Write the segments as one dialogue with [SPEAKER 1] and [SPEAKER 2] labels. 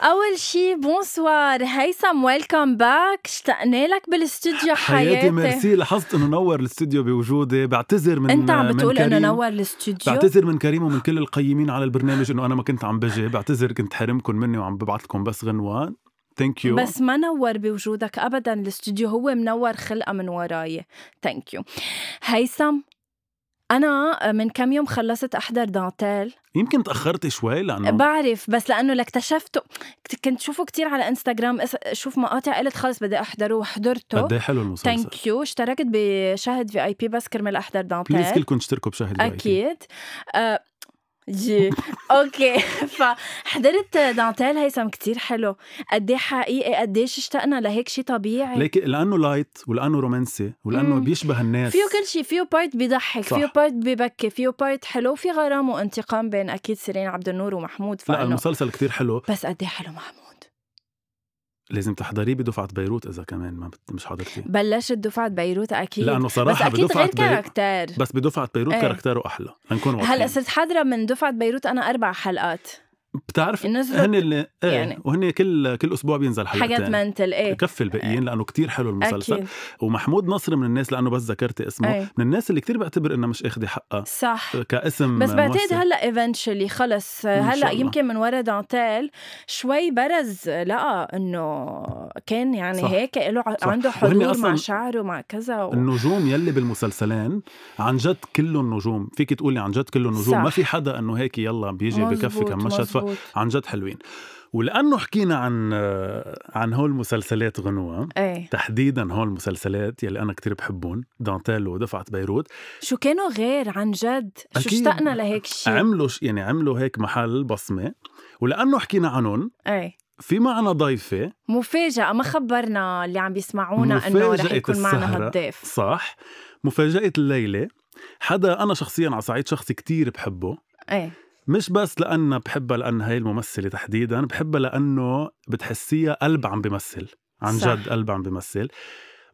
[SPEAKER 1] أول شي بونسوار هيثم ويلكم باك اشتقنا لك بالاستوديو حياتي,
[SPEAKER 2] حياتي ميرسي لاحظت انه نور الاستوديو بوجودي بعتذر من
[SPEAKER 1] انت عم
[SPEAKER 2] من
[SPEAKER 1] بتقول انه
[SPEAKER 2] كريم.
[SPEAKER 1] نور الاستوديو
[SPEAKER 2] بعتذر من كريم ومن كل القيمين على البرنامج انه انا ما كنت عم بجي بعتذر كنت حرمكم مني وعم ببعث لكم بس غنوان ثانك يو
[SPEAKER 1] بس ما نور بوجودك ابدا الاستوديو هو منور خلقه من وراي ثانك يو هيثم انا من كم يوم خلصت احضر دانتيل
[SPEAKER 2] يمكن تاخرت شوي لانه
[SPEAKER 1] بعرف بس لانه لاكتشفته كت- كنت شوفه كتير على انستغرام اس- شوف مقاطع قلت خلص بدي احضره وحضرته
[SPEAKER 2] قد إيه حلو المسلسل
[SPEAKER 1] ثانك يو اشتركت بشاهد في اي بي بس كرمال احضر
[SPEAKER 2] بليز
[SPEAKER 1] دانتيل
[SPEAKER 2] كلكم اشتركوا بشاهد رأيي.
[SPEAKER 1] اكيد آه، جي اوكي فحضرت دانتيل هيثم كتير حلو قد ايه حقيقي قد ايش اشتقنا لهيك شيء طبيعي
[SPEAKER 2] ليك لانه لايت ولانه رومانسي ولانه
[SPEAKER 1] مم.
[SPEAKER 2] بيشبه الناس
[SPEAKER 1] فيه كل شيء فيه بارت بيضحك
[SPEAKER 2] صح.
[SPEAKER 1] فيه بارت ببكي فيه بارت حلو في غرام وانتقام بين اكيد سيرين عبد النور ومحمود
[SPEAKER 2] لا
[SPEAKER 1] فانه
[SPEAKER 2] المسلسل كتير حلو
[SPEAKER 1] بس قد ايه حلو محمود
[SPEAKER 2] لازم تحضريه بدفعه بيروت اذا كمان ما بت... مش حضرتيه
[SPEAKER 1] بلشت دفعه بيروت اكيد
[SPEAKER 2] لانه
[SPEAKER 1] بس
[SPEAKER 2] صراحه
[SPEAKER 1] اكيد غير
[SPEAKER 2] بدفعه بيروت
[SPEAKER 1] كاركتير
[SPEAKER 2] بس بدفعه بيروت
[SPEAKER 1] إيه.
[SPEAKER 2] كاركتره احلى لنكون واضحين
[SPEAKER 1] هلا صرت حاضره من دفعه بيروت انا اربع حلقات
[SPEAKER 2] بتعرف
[SPEAKER 1] نزلت
[SPEAKER 2] هن اللي ايه
[SPEAKER 1] يعني.
[SPEAKER 2] يعني. وهن كل كل اسبوع بينزل حلقه
[SPEAKER 1] حاجات
[SPEAKER 2] تاني.
[SPEAKER 1] منتل ايه
[SPEAKER 2] كفي الباقيين لانه كتير حلو المسلسل
[SPEAKER 1] اكيد
[SPEAKER 2] ومحمود نصر من الناس لانه بس ذكرت اسمه
[SPEAKER 1] إيه.
[SPEAKER 2] من الناس اللي كتير بعتبر انها مش اخذه حقها
[SPEAKER 1] صح
[SPEAKER 2] كاسم
[SPEAKER 1] بس بعتقد
[SPEAKER 2] ممثل.
[SPEAKER 1] هلا ايفنشلي خلص
[SPEAKER 2] إن شاء
[SPEAKER 1] هلا
[SPEAKER 2] الله.
[SPEAKER 1] يمكن من ورا دانتيل شوي برز لقى انه كان يعني
[SPEAKER 2] صح.
[SPEAKER 1] هيك له ع-
[SPEAKER 2] صح.
[SPEAKER 1] عنده
[SPEAKER 2] وهن
[SPEAKER 1] حضور مع
[SPEAKER 2] أصلاً
[SPEAKER 1] شعره مع كذا و...
[SPEAKER 2] النجوم يلي بالمسلسلين عن جد كلهم نجوم فيك تقولي عن جد كلهم نجوم
[SPEAKER 1] صح.
[SPEAKER 2] ما في حدا انه هيك يلا بيجي بكفي
[SPEAKER 1] مزبوط،
[SPEAKER 2] كم مشهد
[SPEAKER 1] مزبوط.
[SPEAKER 2] عن جد حلوين ولانه حكينا عن آه، عن هول المسلسلات غنوه
[SPEAKER 1] ايه
[SPEAKER 2] تحديدا هول المسلسلات يلي انا كتير بحبهم دانتيل ودفعه بيروت
[SPEAKER 1] شو كانوا غير عن جد شو
[SPEAKER 2] أكيد.
[SPEAKER 1] اشتقنا لهيك شيء
[SPEAKER 2] عملوا ش- يعني عملوا هيك محل بصمه ولانه حكينا عنهم
[SPEAKER 1] ايه
[SPEAKER 2] في معنا ضيفه
[SPEAKER 1] مفاجأة ما خبرنا اللي عم بيسمعونا انه رح
[SPEAKER 2] مفاجأة
[SPEAKER 1] يكون معنا
[SPEAKER 2] السهرة.
[SPEAKER 1] هالضيف
[SPEAKER 2] صح مفاجاه الليله حدا انا شخصيا على صعيد شخصي كتير بحبه
[SPEAKER 1] ايه
[SPEAKER 2] مش بس لأنها بحبها لأنها هي الممثلة تحديدا بحبها لأنه بتحسيها قلب عم بمثل عن
[SPEAKER 1] صح.
[SPEAKER 2] جد قلب عم بمثل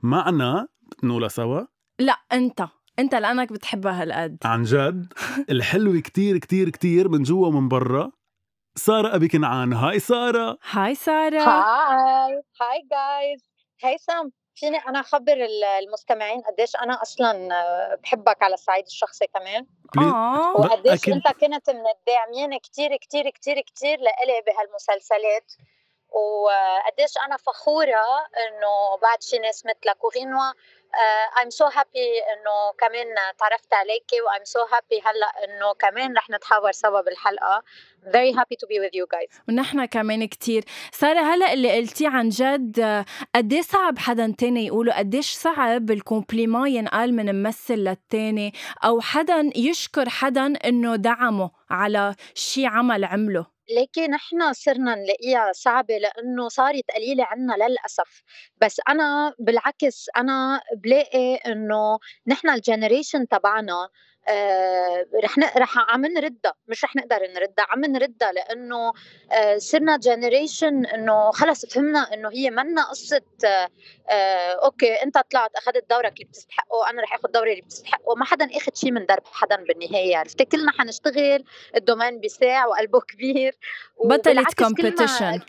[SPEAKER 2] معنا نولا سوا
[SPEAKER 1] لا انت انت لانك بتحبها هالقد
[SPEAKER 2] عن جد الحلوة كتير كتير كتير من جوا ومن برا سارة أبي كنعان هاي سارة
[SPEAKER 1] هاي سارة
[SPEAKER 3] هاي هاي جايز هيثم فيني انا اخبر ال- المستمعين قديش انا اصلا آه، بحبك على الصعيد الشخصي كمان
[SPEAKER 2] بليز-
[SPEAKER 1] آه.
[SPEAKER 3] وقديش
[SPEAKER 2] أكيد.
[SPEAKER 3] انت كنت من الداعمين كتير كتير كتير كتير لإلي بهالمسلسلات وقديش انا فخوره انه بعد شي ناس مثلك آه، وغنوه ايم سو هابي انه كمان تعرفت عليكي وايم سو هابي هلا انه كمان رح نتحاور سوا بالحلقه very happy to be with you guys
[SPEAKER 1] ونحن كمان كتير سارة هلا اللي قلتيه عن جد آه، قد إيه صعب حدا تاني يقوله قد إيش صعب الكومبليمون ينقال من ممثل للتاني او حدا يشكر حدا انه دعمه على شي عمل عمله
[SPEAKER 3] لكن نحن صرنا نلاقيها صعبة لأنه صارت قليلة عنا للأسف بس أنا بالعكس أنا بلاقي إنه نحن الجنريشن تبعنا آه رح ن- رح عم نردها مش رح نقدر نردها عم نردها لانه آه صرنا جنريشن انه خلص فهمنا انه هي منا قصه آه آه اوكي انت طلعت اخذت دورك اللي بتستحقه انا رح اخذ دوري اللي بتستحقه ما حدا اخذ شيء من درب حدا بالنهايه عرفتي كلنا حنشتغل الدومين بيساع وقلبه كبير وبالعكس
[SPEAKER 1] بطلت
[SPEAKER 3] كل ما-
[SPEAKER 1] كومبيتيشن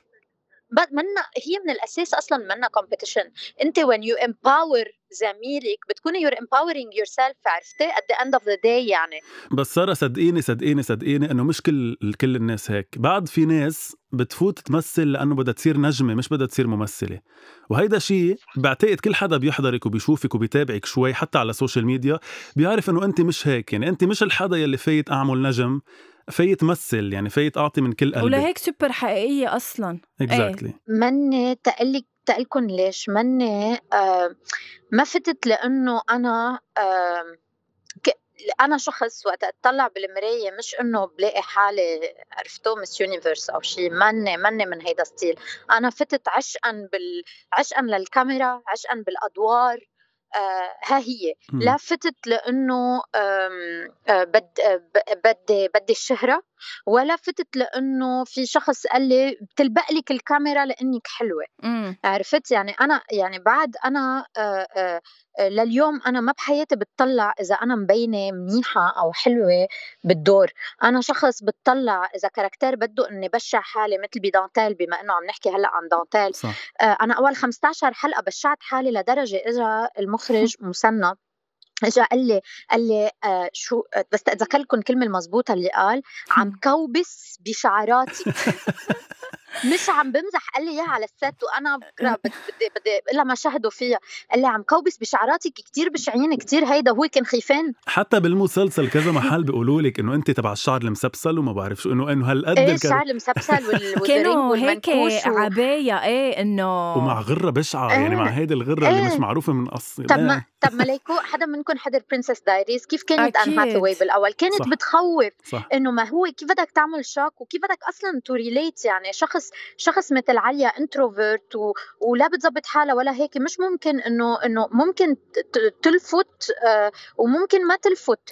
[SPEAKER 3] بد منا هي من الاساس اصلا منا كومبيتيشن انت when you empower زميلك بتكوني you're empowering yourself عرفتي at the end of the day يعني
[SPEAKER 2] بس سارة صدقيني صدقيني صدقيني انه مش كل كل الناس هيك بعد في ناس بتفوت تمثل لانه بدها تصير نجمه مش بدها تصير ممثله وهيدا شيء بعتقد كل حدا بيحضرك وبيشوفك وبيتابعك شوي حتى على السوشيال ميديا بيعرف انه انت مش هيك يعني انت مش الحدا يلي فايت اعمل نجم فايت مثل يعني فايت اعطي من كل قلبي
[SPEAKER 1] ولهيك سوبر حقيقية اصلا
[SPEAKER 2] اكزاكتلي
[SPEAKER 3] مني تقلك تقلكن ليش مني آه ما فتت لانه انا آه ك- انا شخص وقت اتطلع بالمرايه مش انه بلاقي حالي عرفتو مس يونيفرس او شيء مني مني من هيدا الستيل انا فتت عشقا بال عشقا للكاميرا عشقا بالادوار آه ها هي
[SPEAKER 2] مم.
[SPEAKER 3] لا فتت لانه آم، آه، بد آه، ب- بدي بدي الشهره ولا فتت لانه في شخص قال لي بتلبق لك الكاميرا لانك حلوه
[SPEAKER 1] مم.
[SPEAKER 3] عرفت يعني انا يعني بعد انا آه، آه، آه، لليوم انا ما بحياتي بتطلع اذا انا مبينه منيحه او حلوه بالدور انا شخص بتطلع اذا كاركتير بده اني بشع حالي مثل بدانتيل بما انه عم نحكي هلا عن دانتيل
[SPEAKER 2] صح
[SPEAKER 3] آه، انا اول 15 حلقه بشعت حالي لدرجه اجى المخرج مسنى اجى قال لي قال لي آه شو آه، بس اتذكر لكم الكلمه المضبوطه اللي قال عم كوبس بشعراتي مش عم بمزح قال لي اياها على الست وانا بكره بت- بدي بدي الا ما شاهدوا فيها قال لي عم كوبس بشعراتك كثير بشعين كثير هيدا هو كان خيفان
[SPEAKER 2] حتى بالمسلسل كذا محل بيقولوا لك انه انت تبع الشعر المسبسل وما بعرف شو انه انه هالقد
[SPEAKER 3] ايه
[SPEAKER 2] الكاركتر
[SPEAKER 3] الشعر المسبسل وال- والرنج
[SPEAKER 1] كانوا هيك
[SPEAKER 3] والمنكوش و...
[SPEAKER 1] عباية ايه انه
[SPEAKER 2] ومع غره بشعه يعني مع
[SPEAKER 3] إيه.
[SPEAKER 2] هيدي الغره اللي
[SPEAKER 3] إيه.
[SPEAKER 2] مش معروفه من اصل
[SPEAKER 3] آه. طب ما طب ما ليكو حدا منكم حضر برنسس دايريز كيف كانت ان
[SPEAKER 1] أكيد.
[SPEAKER 3] هاثاواي بالاول كانت
[SPEAKER 2] صح.
[SPEAKER 3] بتخوف
[SPEAKER 2] صح
[SPEAKER 3] انه ما هو كيف بدك تعمل شوك وكيف بدك اصلا تو ريليت يعني شخص شخص مثل عليا انتروفيرت و... ولا بتزبط حالها ولا هيك مش ممكن انه انه ممكن ت- ت- تلفت آه، وممكن ما تلفت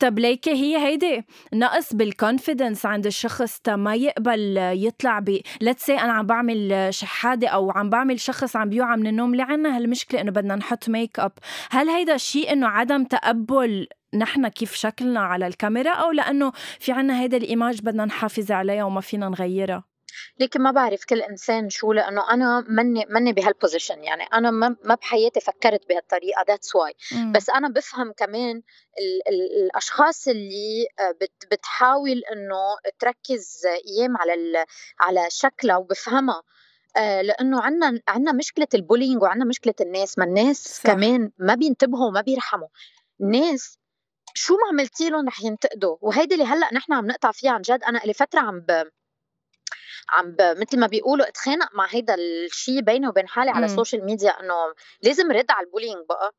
[SPEAKER 1] طب ليكي هي هيدي نقص بالكونفيدنس عند الشخص تا ما يقبل يطلع ب ليتس انا عم بعمل شحاده او عم بعمل شخص عم بيوعى من النوم لعنا هالمشكله انه بدنا نحط ميك اب هل هيدا شيء انه عدم تقبل نحن كيف شكلنا على الكاميرا او لانه في عنا هيدا الايماج بدنا نحافظ عليها وما فينا نغيرها
[SPEAKER 3] لكن ما بعرف كل انسان شو لانه انا مني مني بهالبوزيشن يعني انا ما ما بحياتي فكرت بهالطريقه ذاتس واي
[SPEAKER 1] مم.
[SPEAKER 3] بس انا بفهم كمان ال ال الاشخاص اللي آه، بت بتحاول انه تركز ايام على ال- على شكلها وبفهمها آه، لانه عندنا عندنا مشكله البولينج وعندنا مشكله الناس ما الناس
[SPEAKER 1] صح.
[SPEAKER 3] صح. كمان ما بينتبهوا وما بيرحموا الناس شو ما عملتي لهم رح ينتقدوا وهيدي اللي هلا نحن عم نقطع فيها عن جد انا لي فتره عم ب... عم ب... مثل ما بيقولوا اتخانق مع هيدا الشيء بيني وبين حالي على
[SPEAKER 1] مم.
[SPEAKER 3] السوشيال ميديا انه لازم رد على البولينج بقى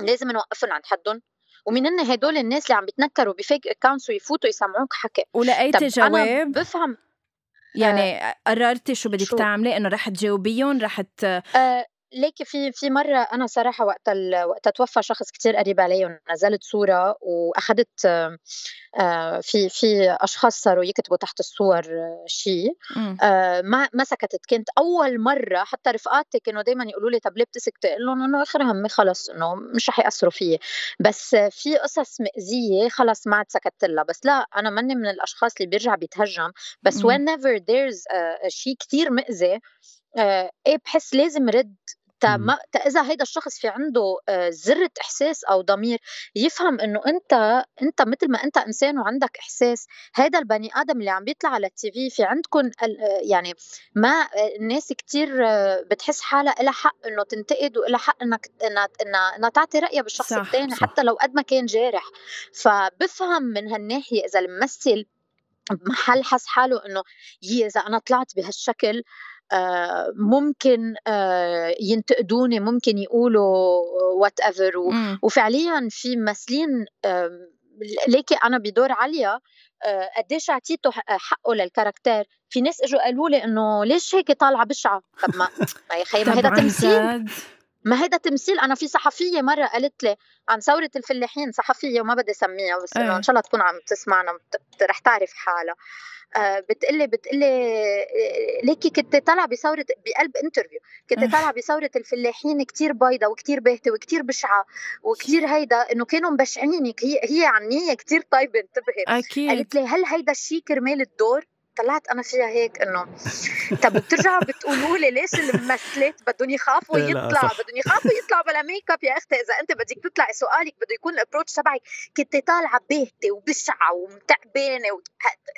[SPEAKER 3] لازم نوقفهم عند حدهم ومين هن هدول الناس اللي عم بيتنكروا بفيك اكونتس ويفوتوا يسمعوك حكي
[SPEAKER 1] ولقيتي
[SPEAKER 3] طب انا
[SPEAKER 1] جواب
[SPEAKER 3] بفهم
[SPEAKER 1] يعني قررتي شو بدك
[SPEAKER 3] شو؟
[SPEAKER 1] تعملي انه رح تجاوبيهم رح ت...
[SPEAKER 3] آه ليك في في مره انا صراحه وقت ال... وقت توفى شخص كتير قريب علي نزلت صوره واخذت آه آه، في في اشخاص صاروا يكتبوا تحت الصور آه، شيء
[SPEAKER 1] مم.
[SPEAKER 3] آه، ما ما سكتت كنت اول مره حتى رفقاتي كانوا دائما يقولوا لي طب ليه بتسكتي؟ اقول لهم انه اخر همي خلص انه مش رح ياثروا فيي بس آه، في قصص مأذيه خلص ما عاد سكتت لها بس لا انا ماني من الاشخاص اللي بيرجع بيتهجم بس
[SPEAKER 1] مم.
[SPEAKER 3] whenever there's آه، شيء كثير مأذي آه، ايه بحس لازم رد تا
[SPEAKER 2] مم.
[SPEAKER 3] ما تا اذا هيدا الشخص في عنده آه، ذره احساس او ضمير يفهم انه انت انت مثل ما انت انسان وعندك احساس هيدا البني ادم اللي عم بيطلع على التي في في عندكم يعني ما آه، الناس كتير آه، بتحس حالها لها حق انه تنتقد والها حق انك انها انها إنها تعطي رايها بالشخص
[SPEAKER 1] صح،
[SPEAKER 3] الثاني
[SPEAKER 2] صح.
[SPEAKER 3] حتى لو قد ما كان جارح فبفهم من هالناحيه اذا الممثل بمحل حس حاله انه يي اذا انا طلعت بهالشكل آه، ممكن آه، ينتقدوني ممكن يقولوا وات ايفر
[SPEAKER 1] مم.
[SPEAKER 3] وفعليا في ممثلين آم، ليكي انا بدور عليا آه، قديش اعطيته حق- حقه للكاركتير في ناس اجوا قالوا لي انه ليش هيك طالعه بشعه طب ما ما يا خيي ما
[SPEAKER 1] طب
[SPEAKER 3] طيب، هيدا
[SPEAKER 1] عن
[SPEAKER 3] تمثيل
[SPEAKER 1] جد
[SPEAKER 3] ما هيدا تمثيل انا في صحفيه مره قالت لي عن ثوره الفلاحين صحفيه وما بدي اسميها بس
[SPEAKER 1] إيه.
[SPEAKER 3] انه ان شاء الله تكون عم تسمعنا بت- بت- رح تعرف حالها آه بتقلي بتقلي آه، ليكي كنت طالعه بثوره بقلب انترفيو
[SPEAKER 1] إيه.
[SPEAKER 3] كنت طالعه بثوره الفلاحين كتير بيضة وكتير باهته وكتير بشعه وكتير هيدا انه كانوا مبشعينك هي هي عنيه كتير طيبه انتبهي
[SPEAKER 1] اكيد
[SPEAKER 3] قالت لي هل هيدا الشيء كرمال الدور طلعت انا فيها هيك انه طب وبترجعوا بتقولوا لي ليش الممثلات بدهم يخافوا
[SPEAKER 2] إيه، لا،
[SPEAKER 3] يطلع
[SPEAKER 2] صح.
[SPEAKER 3] بدهم يخافوا يطلعوا بلا ميك اب يا اختي اذا انت بدك تطلعي سؤالك بده يكون الابروتش تبعك كنت طالعه باهته وبشعه ومتعبانه و...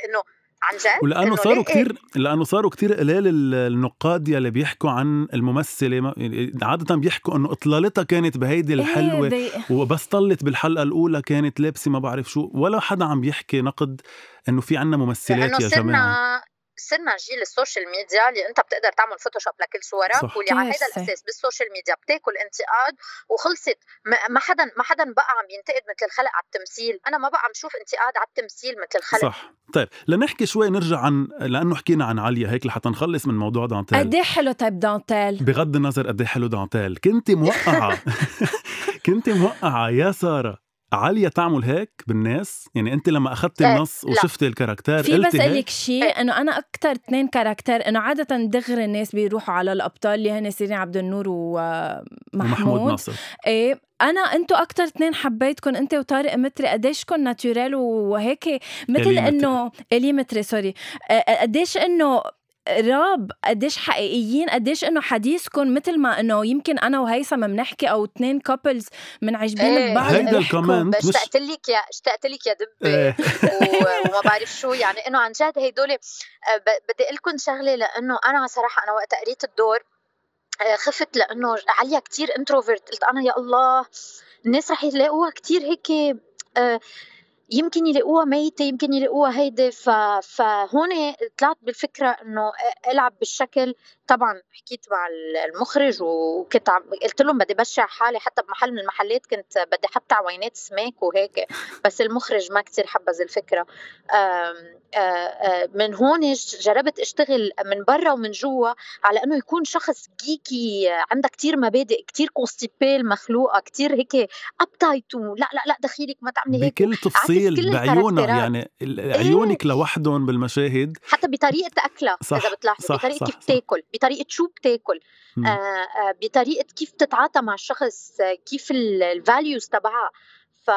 [SPEAKER 3] انه عن جد
[SPEAKER 2] ولانه
[SPEAKER 3] انه
[SPEAKER 2] صاروا
[SPEAKER 3] ليه إيه؟
[SPEAKER 2] كتير لانه صاروا كتير قلال ال- النقاد يلي بيحكوا عن الممثله ما- عاده بيحكوا انه اطلالتها كانت بهيدي
[SPEAKER 3] إيه
[SPEAKER 2] الحلوه
[SPEAKER 1] ايه they-
[SPEAKER 2] وبس طلت بالحلقه الاولى كانت لابسه ما بعرف شو ولا حدا عم بيحكي نقد انه في عنا
[SPEAKER 3] لانه
[SPEAKER 2] ممثلات يا جماعه
[SPEAKER 3] صرنا صرنا جيل السوشيال ميديا اللي انت بتقدر تعمل فوتوشوب لكل صورك
[SPEAKER 2] صح.
[SPEAKER 3] واللي على هذا
[SPEAKER 1] كارثة.
[SPEAKER 3] الاساس بالسوشيال ميديا بتاكل انتقاد وخلصت ما ما حدا ما حدا بقى عم ينتقد مثل الخلق على التمثيل انا ما بقى عم شوف انتقاد على التمثيل مثل الخلق
[SPEAKER 2] صح طيب لنحكي شوي نرجع عن لانه حكينا عن عليا هيك لحتى نخلص من موضوع دانتيل
[SPEAKER 1] قد ايه حلو طيب دانتيل
[SPEAKER 2] بغض النظر قد إيه حلو دانتيل كنت موقعه كنت موقعه يا ساره عالية تعمل هيك بالناس يعني انت لما اخذتي
[SPEAKER 3] آه،
[SPEAKER 2] النص
[SPEAKER 3] لا.
[SPEAKER 2] وشفتي الكاركتير
[SPEAKER 1] في بس
[SPEAKER 2] قلتي هيك
[SPEAKER 1] لك شيء انه انا اكثر اثنين كاركتر انه عاده دغري الناس بيروحوا على الابطال اللي هن سيرين عبد النور
[SPEAKER 2] ومحمود
[SPEAKER 1] ومحمود
[SPEAKER 2] ناصر
[SPEAKER 1] ايه انا انتوا اكثر اثنين حبيتكم انت وطارق متري قديشكم ناتورال وهيك مثل
[SPEAKER 2] إلي متري.
[SPEAKER 1] انه الي متري سوري آه، قديش انه راب قديش حقيقيين قديش انه حديثكم مثل ما انه يمكن انا وهيثم بنحكي او اثنين كابلز منعجبين
[SPEAKER 3] إيه.
[SPEAKER 1] ببعض
[SPEAKER 2] هيدا
[SPEAKER 1] بيحكوا.
[SPEAKER 2] الكومنت مش
[SPEAKER 3] اشتقت لك يا اشتقت لك يا دبه
[SPEAKER 2] إيه.
[SPEAKER 3] و- وما بعرف شو يعني انه عن جد هدول بدي اقول لكم شغله لانه انا صراحه انا وقت قريت الدور آه، خفت لانه عليا كتير انتروفيرت قلت انا يا الله الناس رح يلاقوها كتير هيك آه، يمكن يلاقوها ميتة يمكن يلاقوها هيدي ف... فهون طلعت بالفكرة انه العب بالشكل طبعا حكيت مع المخرج وكنت عم قلت لهم بدي بشع حالي حتى بمحل من المحلات كنت بدي حط عوينات سماك وهيك بس المخرج ما كتير حبذ الفكرة آم، آه، آه، من هون ج- جربت اشتغل من برا ومن جوا على انه يكون شخص جيكي آه، عندها كتير مبادئ كتير كونستيبيل مخلوقه كتير هيك ابتايت لا لا لا دخيلك ما تعملي هيك
[SPEAKER 2] بكل
[SPEAKER 3] يعني كل إيه.
[SPEAKER 2] تفصيل بعيونها
[SPEAKER 3] الكاركترات.
[SPEAKER 2] يعني ال- عيونك لوحدهم بالمشاهد
[SPEAKER 3] حتى بطريقه اكلها
[SPEAKER 2] صح،
[SPEAKER 3] اذا بتلاحظي
[SPEAKER 2] صح،
[SPEAKER 3] بطريقه
[SPEAKER 2] صح،
[SPEAKER 3] كيف
[SPEAKER 2] صح.
[SPEAKER 3] تاكل بطريقه شو بتاكل
[SPEAKER 2] مم.
[SPEAKER 3] آه، آه، بطريقه كيف تتعاطى مع الشخص آه، كيف الفاليوز تبعها ف...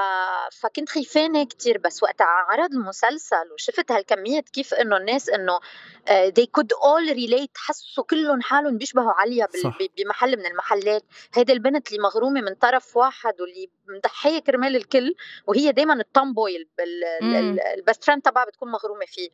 [SPEAKER 3] فكنت خيفانه كتير بس وقت عرض المسلسل وشفت هالكميه كيف انه الناس انه آه، they could all relate حسوا كلهم حالهم بيشبهوا عليا بال...
[SPEAKER 2] صح.
[SPEAKER 3] ب- بمحل من المحلات هيدي البنت اللي مغرومه من طرف واحد واللي مضحيه كرمال الكل وهي دائما التامبوي ال- ال-
[SPEAKER 1] مم.
[SPEAKER 3] ال- البست فريند تبعها بتكون مغرومه فيه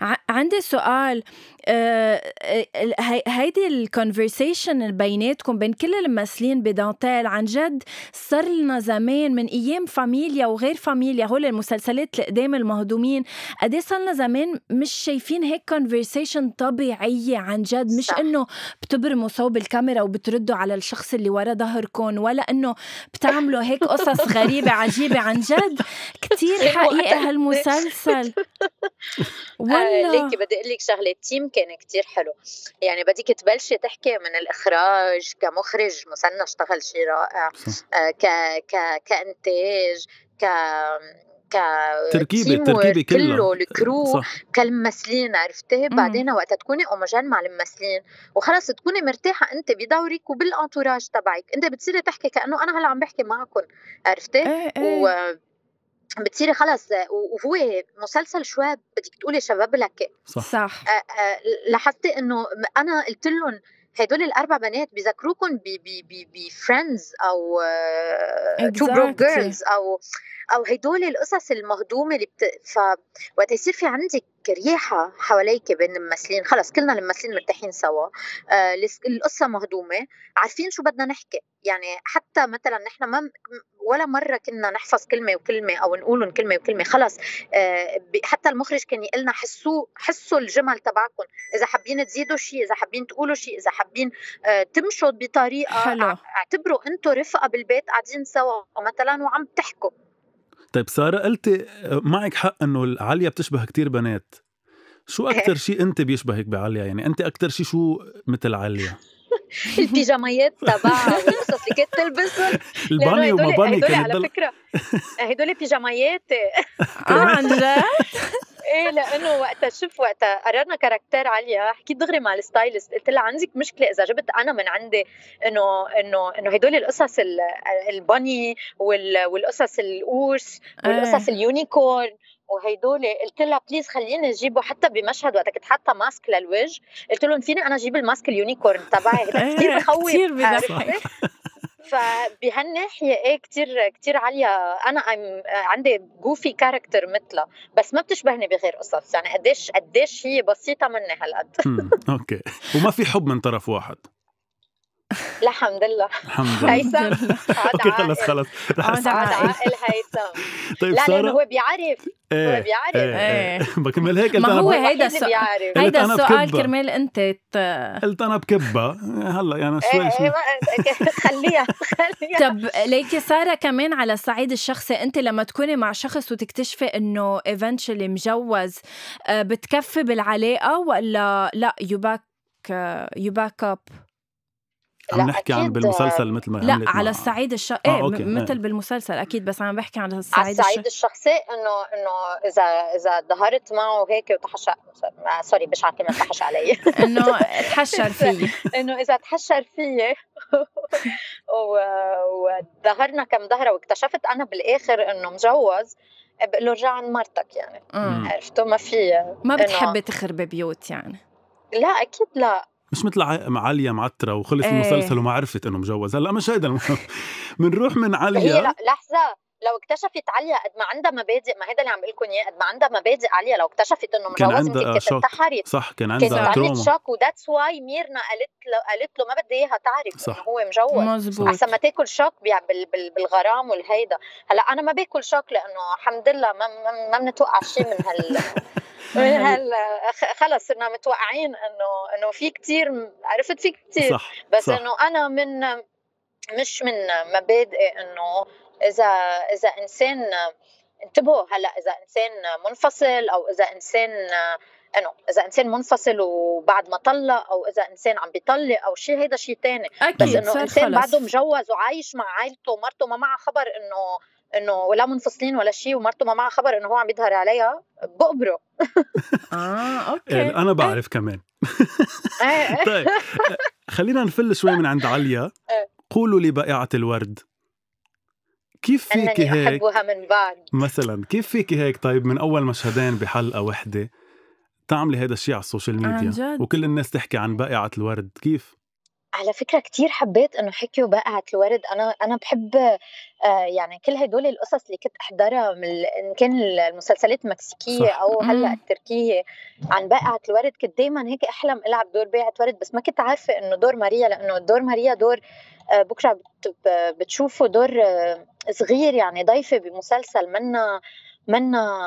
[SPEAKER 1] ع- عندي سؤال آه، آه، ال- هي- هيدي الكونفرسيشن بيناتكم بين كل الممثلين بدانتيل عن جد صار لنا زمان من ايام فاميليا وغير فاميليا هول المسلسلات اللي قدام المهضومين قد إيه صار لنا زمان مش شايفين هيك كونفرسيشن طبيعيه عن جد مش
[SPEAKER 3] صح.
[SPEAKER 1] انه بتبرموا صوب الكاميرا وبتردوا على الشخص اللي ورا ظهركم ولا انه بتعملوا هيك قصص غريبه عجيبه عن جد كتير حقيقه هالمسلسل
[SPEAKER 3] آه،
[SPEAKER 1] والله
[SPEAKER 3] ليكي بدي اقول لك شغله التيم كان كتير حلو يعني بديك تبلشي تحكي من الاخراج كمخرج مسنى اشتغل شيء رائع
[SPEAKER 2] صح.
[SPEAKER 3] آه، ك ك كانتاج ك ك
[SPEAKER 2] تركيبة-
[SPEAKER 3] team work
[SPEAKER 2] تركيبة كلها.
[SPEAKER 3] كله الكرو
[SPEAKER 2] صح إمم.
[SPEAKER 3] كالممثلين عرفتي
[SPEAKER 1] مم.
[SPEAKER 3] بعدين وقت تكوني اوموجين مع الممثلين وخلص تكوني مرتاحه انت بدورك وبالانتوراج تبعك انت بتصيري تحكي كانه انا هلا عم بحكي معكم عرفتي
[SPEAKER 1] ايه ايه
[SPEAKER 3] و بتصيري خلص وهو مسلسل شوي بدك تقولي شباب لك
[SPEAKER 2] صح
[SPEAKER 1] صح
[SPEAKER 3] آه، آه، لاحظت انه م- انا قلت لهم هدول الاربع بنات بذكروكم بفريندز او تو بروك
[SPEAKER 1] Exactly.
[SPEAKER 3] جيرلز او او هدول القصص المهضومه اللي بت... ف وقت يصير في عندك رياحه حواليك بين الممثلين خلص كلنا الممثلين مرتاحين سوا آه، الس- القصه مهضومه عارفين شو بدنا نحكي يعني حتى مثلا نحن ما م- ولا مره كنا نحفظ كلمه وكلمه او نقولهم كلمه وكلمه خلص آه، ب- حتى المخرج كان يقول لنا حسوا حسوا الجمل تبعكم اذا حابين تزيدوا شيء اذا حابين تقولوا شيء اذا حابين آه، تمشوا بطريقه
[SPEAKER 1] حلو. آه.
[SPEAKER 3] ع- اعتبروا انتم رفقه بالبيت قاعدين سوا مثلا وعم تحكوا
[SPEAKER 2] طيب سارة قلتي آه، معك حق انه عليا بتشبه كتير بنات شو
[SPEAKER 3] إيه.
[SPEAKER 2] اكثر شيء انت بيشبهك بعليا يعني انت اكثر شيء شو مثل عليا
[SPEAKER 3] البيجاميات تبعها والقصص اللي كانت تلبسهم لانه
[SPEAKER 2] الباني وما
[SPEAKER 3] هدول
[SPEAKER 2] باني
[SPEAKER 3] هدول
[SPEAKER 2] كانت
[SPEAKER 3] على
[SPEAKER 2] ضل-
[SPEAKER 3] فكره هدول بيجاميات
[SPEAKER 1] اه عن جد
[SPEAKER 3] ايه لانه وقتها شوف وقتها قررنا كاركتير عليا حكيت دغري مع الستايلست قلت لها عندك مشكله اذا جبت انا من عندي انه انه انه هدول القصص ال- البني وال- والقصص القوس والقصص
[SPEAKER 1] إيه.
[SPEAKER 3] اليونيكورن وهيدول قلت لها بليز خليني اجيبه حتى بمشهد وقت كنت حاطه ماسك للوجه قلت لهم فيني انا اجيب الماسك اليونيكورن تبعي هيدا كثير
[SPEAKER 1] إيه،
[SPEAKER 3] بخوف
[SPEAKER 1] كتير بضحك.
[SPEAKER 3] عرفتي؟ فبهالناحيه ايه كثير كثير عاليه انا I'm- عندي جوفي كاركتر مثلها بس ما بتشبهني بغير قصص يعني قديش قديش هي بسيطه مني هالقد
[SPEAKER 2] مم، اوكي وما في حب من طرف واحد
[SPEAKER 3] لا الحمد لله
[SPEAKER 2] الحمد لله
[SPEAKER 3] هيثم عاد
[SPEAKER 2] اوكي خلص
[SPEAKER 3] عاقل.
[SPEAKER 2] خلص رح
[SPEAKER 1] عاد
[SPEAKER 2] أسأل.
[SPEAKER 3] عاد
[SPEAKER 1] عاقل.
[SPEAKER 3] عاقل هيثم
[SPEAKER 2] طيب
[SPEAKER 3] لا لانه
[SPEAKER 2] سارة
[SPEAKER 3] هو بيعرف
[SPEAKER 2] إيه،
[SPEAKER 3] هو بيعرف.
[SPEAKER 2] إيه، إيه. بكمل هيك قلت
[SPEAKER 1] ما
[SPEAKER 2] أنا
[SPEAKER 1] هو
[SPEAKER 2] بقول-
[SPEAKER 1] هيدا
[SPEAKER 3] الوحيد اللي
[SPEAKER 1] السؤال.
[SPEAKER 3] بيعرف
[SPEAKER 2] قلت
[SPEAKER 1] هيدا
[SPEAKER 2] أنا
[SPEAKER 1] السؤال
[SPEAKER 2] بكبها.
[SPEAKER 1] كرمال انت ت-
[SPEAKER 2] قلت انا بكبها هلا يعني شوي
[SPEAKER 3] إيه، إيه،
[SPEAKER 2] شوي
[SPEAKER 3] ما- خليها خليها
[SPEAKER 1] طب ليكي ساره كمان على الصعيد الشخصي انت لما تكوني مع شخص وتكتشفي انه ايفنشلي مجوز آه، آه، بتكفي بالعلاقه ولا لا يو باك يو باك اب
[SPEAKER 2] عم نحكي عن بالمسلسل مثل ما
[SPEAKER 1] لا
[SPEAKER 2] عملت
[SPEAKER 1] على
[SPEAKER 2] مع-
[SPEAKER 1] الصعيد الش...
[SPEAKER 2] آه،
[SPEAKER 1] ايه
[SPEAKER 2] أوكي،
[SPEAKER 1] م-
[SPEAKER 2] إيه.
[SPEAKER 1] مثل بالمسلسل اكيد بس عم بحكي على
[SPEAKER 3] على
[SPEAKER 1] الصعيد الش...
[SPEAKER 3] الصعيد الشخصي انه انه اذا اذا ظهرت معه هيك وتحشى آه، سوري مش عارفه ما تحش علي
[SPEAKER 1] انه تحشر فيي
[SPEAKER 3] انه اذا تحشر فيي و- وظهرنا كم ظهره واكتشفت انا بالاخر انه مجوز بقول له ارجع عن مرتك يعني
[SPEAKER 1] أمم.
[SPEAKER 3] عرفتوا ما في
[SPEAKER 1] ما
[SPEAKER 3] إنه-
[SPEAKER 1] بتحبي تخربي بيوت يعني
[SPEAKER 3] لا اكيد لا
[SPEAKER 2] مش مثل ع- مع عليا معترة وخلص
[SPEAKER 1] إيه.
[SPEAKER 2] المسلسل وما عرفت انه مجوز هلا مش هيدا المهم بنروح من
[SPEAKER 3] هي
[SPEAKER 2] عليا
[SPEAKER 3] لا لحظه لو اكتشفت عليا قد ما عندها مبادئ ما هذا اللي عم بقول لكم اياه قد ما عندها مبادئ عليا لو اكتشفت انه
[SPEAKER 2] كان
[SPEAKER 3] مجوز
[SPEAKER 2] عندها
[SPEAKER 3] يمكن كانت
[SPEAKER 2] شوك.
[SPEAKER 3] انتحرت
[SPEAKER 2] صح كان
[SPEAKER 3] كانت
[SPEAKER 2] عندها
[SPEAKER 3] عملت
[SPEAKER 2] تروما
[SPEAKER 3] شوك وذاتس واي ميرنا قالت له قالت له ما بدي اياها تعرف
[SPEAKER 2] صح.
[SPEAKER 3] انه هو مجوز
[SPEAKER 1] مزبوط
[SPEAKER 3] احسن ما تاكل شوك بيع بال- بال- بالغرام والهيدا هلا انا ما باكل شوك لانه الحمد لله ما ما, ما بنتوقع شيء من هال من هال خ- خلص صرنا متوقعين انه انه في كتير عرفت في كتير
[SPEAKER 2] صح
[SPEAKER 3] بس
[SPEAKER 2] صح.
[SPEAKER 3] انه انا من مش من مبادئي انه اذا اذا انسان انتبهوا هلا اذا انسان منفصل او اذا انسان انه اذا انسان منفصل وبعد ما طلق او اذا انسان عم بيطلق او شيء هيدا شيء تاني بس
[SPEAKER 1] اكيد
[SPEAKER 3] انه
[SPEAKER 1] صار
[SPEAKER 3] انسان بعده
[SPEAKER 1] طيب خلص
[SPEAKER 3] مجوز وعايش مع عائلته ومرته ما معها خبر انه انه ولا منفصلين ولا شيء ومرته ما معها خبر انه هو عم يظهر عليها بقبره
[SPEAKER 1] اه
[SPEAKER 2] إيه،
[SPEAKER 1] اوكي
[SPEAKER 2] انا بعرف كمان
[SPEAKER 3] إيه، إيه.
[SPEAKER 2] طيب خلينا نفل شوي من عند عليا
[SPEAKER 3] إيه.
[SPEAKER 2] قولوا لي بائعة الورد كيف فيك
[SPEAKER 3] انني
[SPEAKER 2] هيك
[SPEAKER 3] احبها من بعد
[SPEAKER 2] مثلا كيف فيك هيك طيب من اول مشهدين بحلقه وحده تعملي هذا الشيء على السوشيال
[SPEAKER 1] عن
[SPEAKER 2] ميديا
[SPEAKER 1] جد
[SPEAKER 2] وكل الناس تحكي عن بائعة الورد كيف
[SPEAKER 3] على فكره كتير حبيت انه حكيوا بقعه الورد انا انا بحب آه، يعني كل هدول القصص اللي كنت احضرها من ال- ان كان المسلسلات المكسيكيه
[SPEAKER 2] صح.
[SPEAKER 3] او هلا
[SPEAKER 1] مم.
[SPEAKER 3] التركيه عن بقعه الورد كنت دائما هيك احلم العب دور بقعه ورد بس ما كنت عارفه انه دور ماريا لانه دور ماريا دور آه، بكره بت- ب- بتشوفوا دور آه، صغير يعني ضيفه بمسلسل منا منا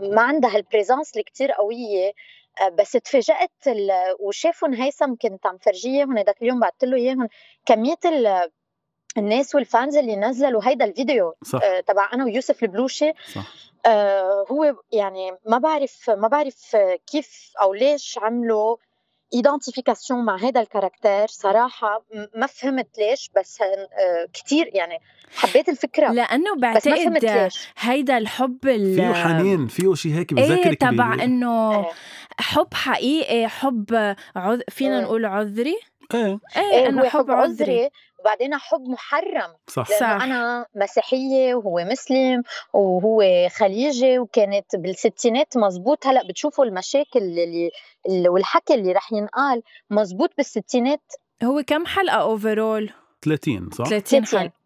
[SPEAKER 3] ما عندها هالبريزانس اللي كتير قويه آه، بس تفاجأت ال- وشافهم هيثم كنت عم فرجيه اياهم هداك اليوم بعثت له اياهم كميه ال- الناس والفانز اللي نزلوا هيدا الفيديو
[SPEAKER 2] صح
[SPEAKER 3] آه، تبع انا ويوسف البلوشي
[SPEAKER 2] صح
[SPEAKER 3] آه، هو يعني ما بعرف ما بعرف كيف او ليش عملوا ايدنتيفيكاسيون مع هذا الكاركتير صراحه م- ما فهمت ليش بس هن- آه، كتير يعني حبيت الفكره
[SPEAKER 1] لانه
[SPEAKER 3] بس إيه؟ ما فهمت
[SPEAKER 1] بعتقد
[SPEAKER 3] ليش
[SPEAKER 1] هيدا الحب ال-
[SPEAKER 2] فيه حنين فيه شيء هيك
[SPEAKER 1] ايه
[SPEAKER 2] بذكرك
[SPEAKER 1] تبع
[SPEAKER 2] بال-
[SPEAKER 1] انه
[SPEAKER 3] إيه.
[SPEAKER 1] حب حقيقي حب عذ... فينا
[SPEAKER 3] إيه.
[SPEAKER 1] نقول عذري
[SPEAKER 2] ايه
[SPEAKER 1] ايه
[SPEAKER 3] إيه هو
[SPEAKER 1] انه
[SPEAKER 3] حب
[SPEAKER 1] حب عذري
[SPEAKER 3] عذري وبعدين حب محرم
[SPEAKER 2] صح
[SPEAKER 1] لا.
[SPEAKER 3] لانه
[SPEAKER 1] صح.
[SPEAKER 3] انا مسيحيه وهو مسلم وهو خليجي وكانت بالستينات مزبوط هلا بتشوفوا المشاكل اللي اللي- والحكي اللي رح ينقال مزبوط بالستينات
[SPEAKER 1] هو كم حلقه اوفرول
[SPEAKER 2] 30 صح
[SPEAKER 1] 30
[SPEAKER 3] 30.
[SPEAKER 1] حلقه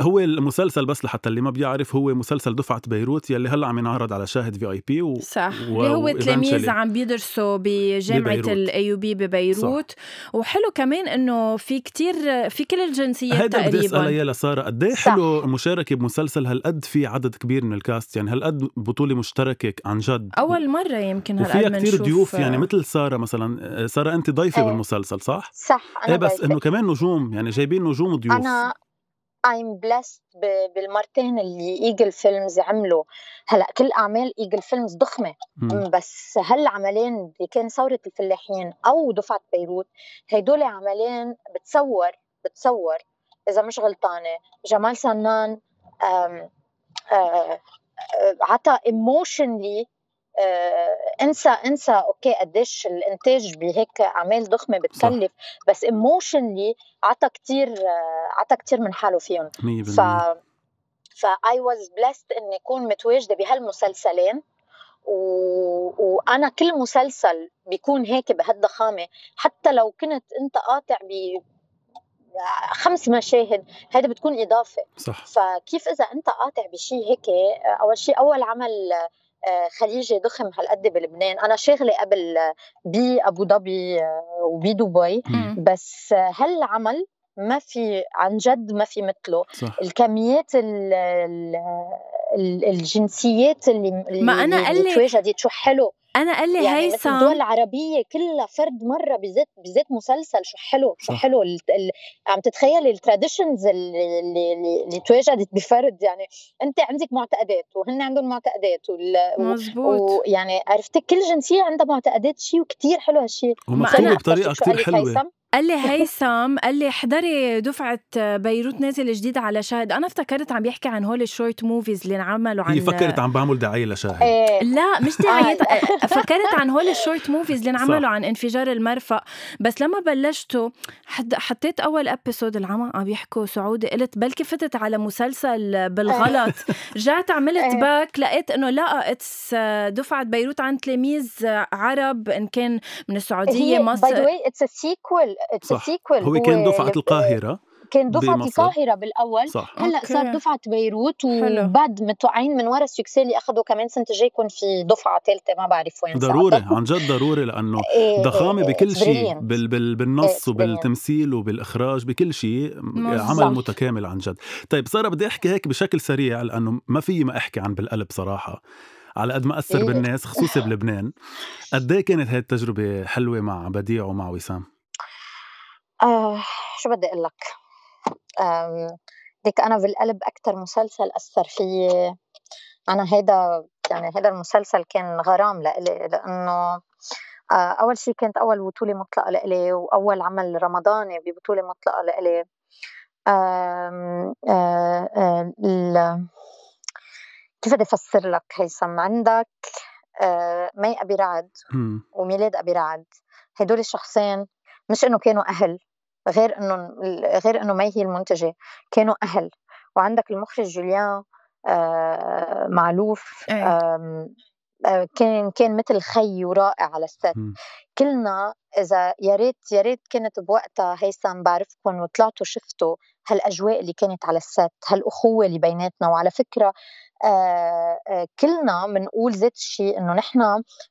[SPEAKER 2] هو المسلسل بس لحتى اللي ما بيعرف هو مسلسل دفعة بيروت يلي هلا عم ينعرض على شاهد في اي بي و...
[SPEAKER 1] صح
[SPEAKER 2] و-
[SPEAKER 1] اللي هو
[SPEAKER 2] و- eventually.
[SPEAKER 1] تلاميذ عم بيدرسوا بجامعه
[SPEAKER 2] ببيروت.
[SPEAKER 1] الايوبي ببيروت وحلو كمان انه في كتير في كل الجنسيات
[SPEAKER 2] هيدا بدي اسالها
[SPEAKER 1] تقريبا
[SPEAKER 2] يا لسارة قد ايه
[SPEAKER 3] صح.
[SPEAKER 2] حلو مشاركة بمسلسل هالقد في عدد كبير من الكاست يعني هالقد بطولة مشتركة عن جد
[SPEAKER 1] اول مره يمكن
[SPEAKER 2] وفيها
[SPEAKER 1] هالقد
[SPEAKER 2] كتير
[SPEAKER 1] منشوف
[SPEAKER 2] ضيوف يعني مثل سارة مثلا آه، سارة انت ضيفة
[SPEAKER 3] إيه.
[SPEAKER 2] بالمسلسل صح؟
[SPEAKER 3] صح انا
[SPEAKER 2] ايه بس
[SPEAKER 3] بعرف.
[SPEAKER 2] انه كمان نجوم يعني جايبين نجوم ضيوف
[SPEAKER 3] انا I'm blessed ب- بالمرتين اللي ايجل فيلمز عملوا هلا كل اعمال ايجل فيلمز ضخمه
[SPEAKER 2] مم.
[SPEAKER 3] إمم، بس هالعملين اللي كان ثورة الفلاحين أو دفعة بيروت هيدول عملين بتصور بتصور إذا مش غلطانة جمال سنان آم، آه، آه، عطى ايموشنلي انسى انسى اوكي قديش الانتاج بهيك اعمال ضخمه بتكلف بس ايموشنلي عطى كتير آه، عطى كتير من حاله فيهم
[SPEAKER 2] 100%
[SPEAKER 3] ف ف I was blessed اني اكون متواجده بهالمسلسلين و... وانا كل مسلسل بيكون هيك بهالضخامه حتى لو كنت انت قاطع ب خمس مشاهد هيدا بتكون اضافه
[SPEAKER 2] صح
[SPEAKER 3] فكيف اذا انت قاطع بشيء هيك آه، اول شيء اول عمل آه، خليجي ضخم هالقد بلبنان انا شاغله قبل آه، بابو ظبي آه، وبدبي
[SPEAKER 2] مم.
[SPEAKER 3] بس آه، هالعمل ما في عن جد ما في مثله
[SPEAKER 2] صح
[SPEAKER 3] الكميات ال ال ال- الجنسيات اللي
[SPEAKER 1] ما أنا
[SPEAKER 3] اللي-
[SPEAKER 1] قال إيه، لي-
[SPEAKER 3] اللي تواجدت شو حلو
[SPEAKER 1] انا قال لي
[SPEAKER 3] يعني مثل
[SPEAKER 1] هيثم
[SPEAKER 3] الدول العربيه كلها فرد مره بذات بذات مسلسل شو حلو شو
[SPEAKER 2] صح.
[SPEAKER 3] حلو ال- ال- عم تتخيل التراديشنز اللي, اللي, اللي تواجدت بفرد يعني انت عندك معتقدات وهن عندهم معتقدات وال و-
[SPEAKER 1] مزبوط
[SPEAKER 3] ويعني عرفتي كل جنسيه عندها معتقدات شيء وكتير حلو هالشيء
[SPEAKER 1] ما
[SPEAKER 2] ومكتوبة
[SPEAKER 1] أنا-
[SPEAKER 2] بطريقة
[SPEAKER 3] شو
[SPEAKER 2] كتير
[SPEAKER 3] قالت
[SPEAKER 2] حلوة
[SPEAKER 3] هيثم؟
[SPEAKER 1] قال لي هيثم قال لي احضري دفعه بيروت نازل جديد على شاهد انا افتكرت عم يحكي عن هول الشورت موفيز اللي انعملوا عن
[SPEAKER 2] هي فكرت عم بعمل دعايه لشاهد
[SPEAKER 3] إيه.
[SPEAKER 1] لا مش دعاية فكرت عن هول الشورت موفيز اللي انعملوا عن انفجار المرفأ بس لما بلشته حد حطيت اول ابيسود العمى عم يحكوا سعودي قلت بلكي فتت على مسلسل بالغلط رجعت عملت
[SPEAKER 3] إيه.
[SPEAKER 1] باك لقيت انه لا اتس دفعه بيروت عن تلاميذ آه، عرب ان كان من السعوديه
[SPEAKER 3] هي باي ذا
[SPEAKER 1] مصر
[SPEAKER 3] واي اتس سيكول اتس
[SPEAKER 2] صح.
[SPEAKER 3] سيكول
[SPEAKER 2] هو كان دفعه القاهره
[SPEAKER 3] كان دفعه
[SPEAKER 2] بمصر.
[SPEAKER 3] القاهره بالاول
[SPEAKER 2] صح
[SPEAKER 3] هلا صار
[SPEAKER 1] أوكي.
[SPEAKER 3] دفعه بيروت
[SPEAKER 1] حلو.
[SPEAKER 3] وبعد متوقعين من ورا السكسي اللي اخذوا كمان سنه الجاي يكون في دفعه ثالثه ما بعرف وين إيه،
[SPEAKER 2] ضروري عن جد ضروري لانه ضخامه بكل شيء بال بال بالنص
[SPEAKER 3] It's
[SPEAKER 2] وبالتمثيل وبالاخراج بكل شيء
[SPEAKER 1] صح.
[SPEAKER 2] عمل متكامل عن جد طيب ساره بدي احكي هيك بشكل سريع لانه ما في ما احكي عن بالقلب صراحه على قد ما اثر
[SPEAKER 3] إيه.
[SPEAKER 2] بالناس خصوصي بلبنان قد ايه كانت هاي التجربه حلوه مع بديع ومع وسام
[SPEAKER 3] آه شو بدي اقول لك آم، ديك انا بالقلب اكثر مسلسل اثر فيي انا هيدا يعني هيدا المسلسل كان غرام لإلي لانه آه، اول شيء كانت اول بطوله مطلقه لإلي واول عمل رمضاني ببطوله مطلقه لإلي آم، آه، آه، ال- كيف بدي افسر لك هيثم عندك آه، مي ابي رعد
[SPEAKER 2] مم.
[SPEAKER 3] وميلاد ابي رعد هدول الشخصين مش انه كانوا اهل غير انه غير انه مي هي المنتجه كانوا اهل وعندك المخرج جوليان آه، معلوف
[SPEAKER 1] إيه.
[SPEAKER 3] آم، آه، كان كان مثل خي ورائع على الست
[SPEAKER 2] مم.
[SPEAKER 3] كلنا اذا يا ريت يا ريت كنت بوقتها هيثم بعرفكم وطلعتوا شفتوا هالاجواء اللي كانت على الست هالاخوه اللي بيناتنا وعلى فكره آه آه كلنا بنقول ذات الشيء انه نحن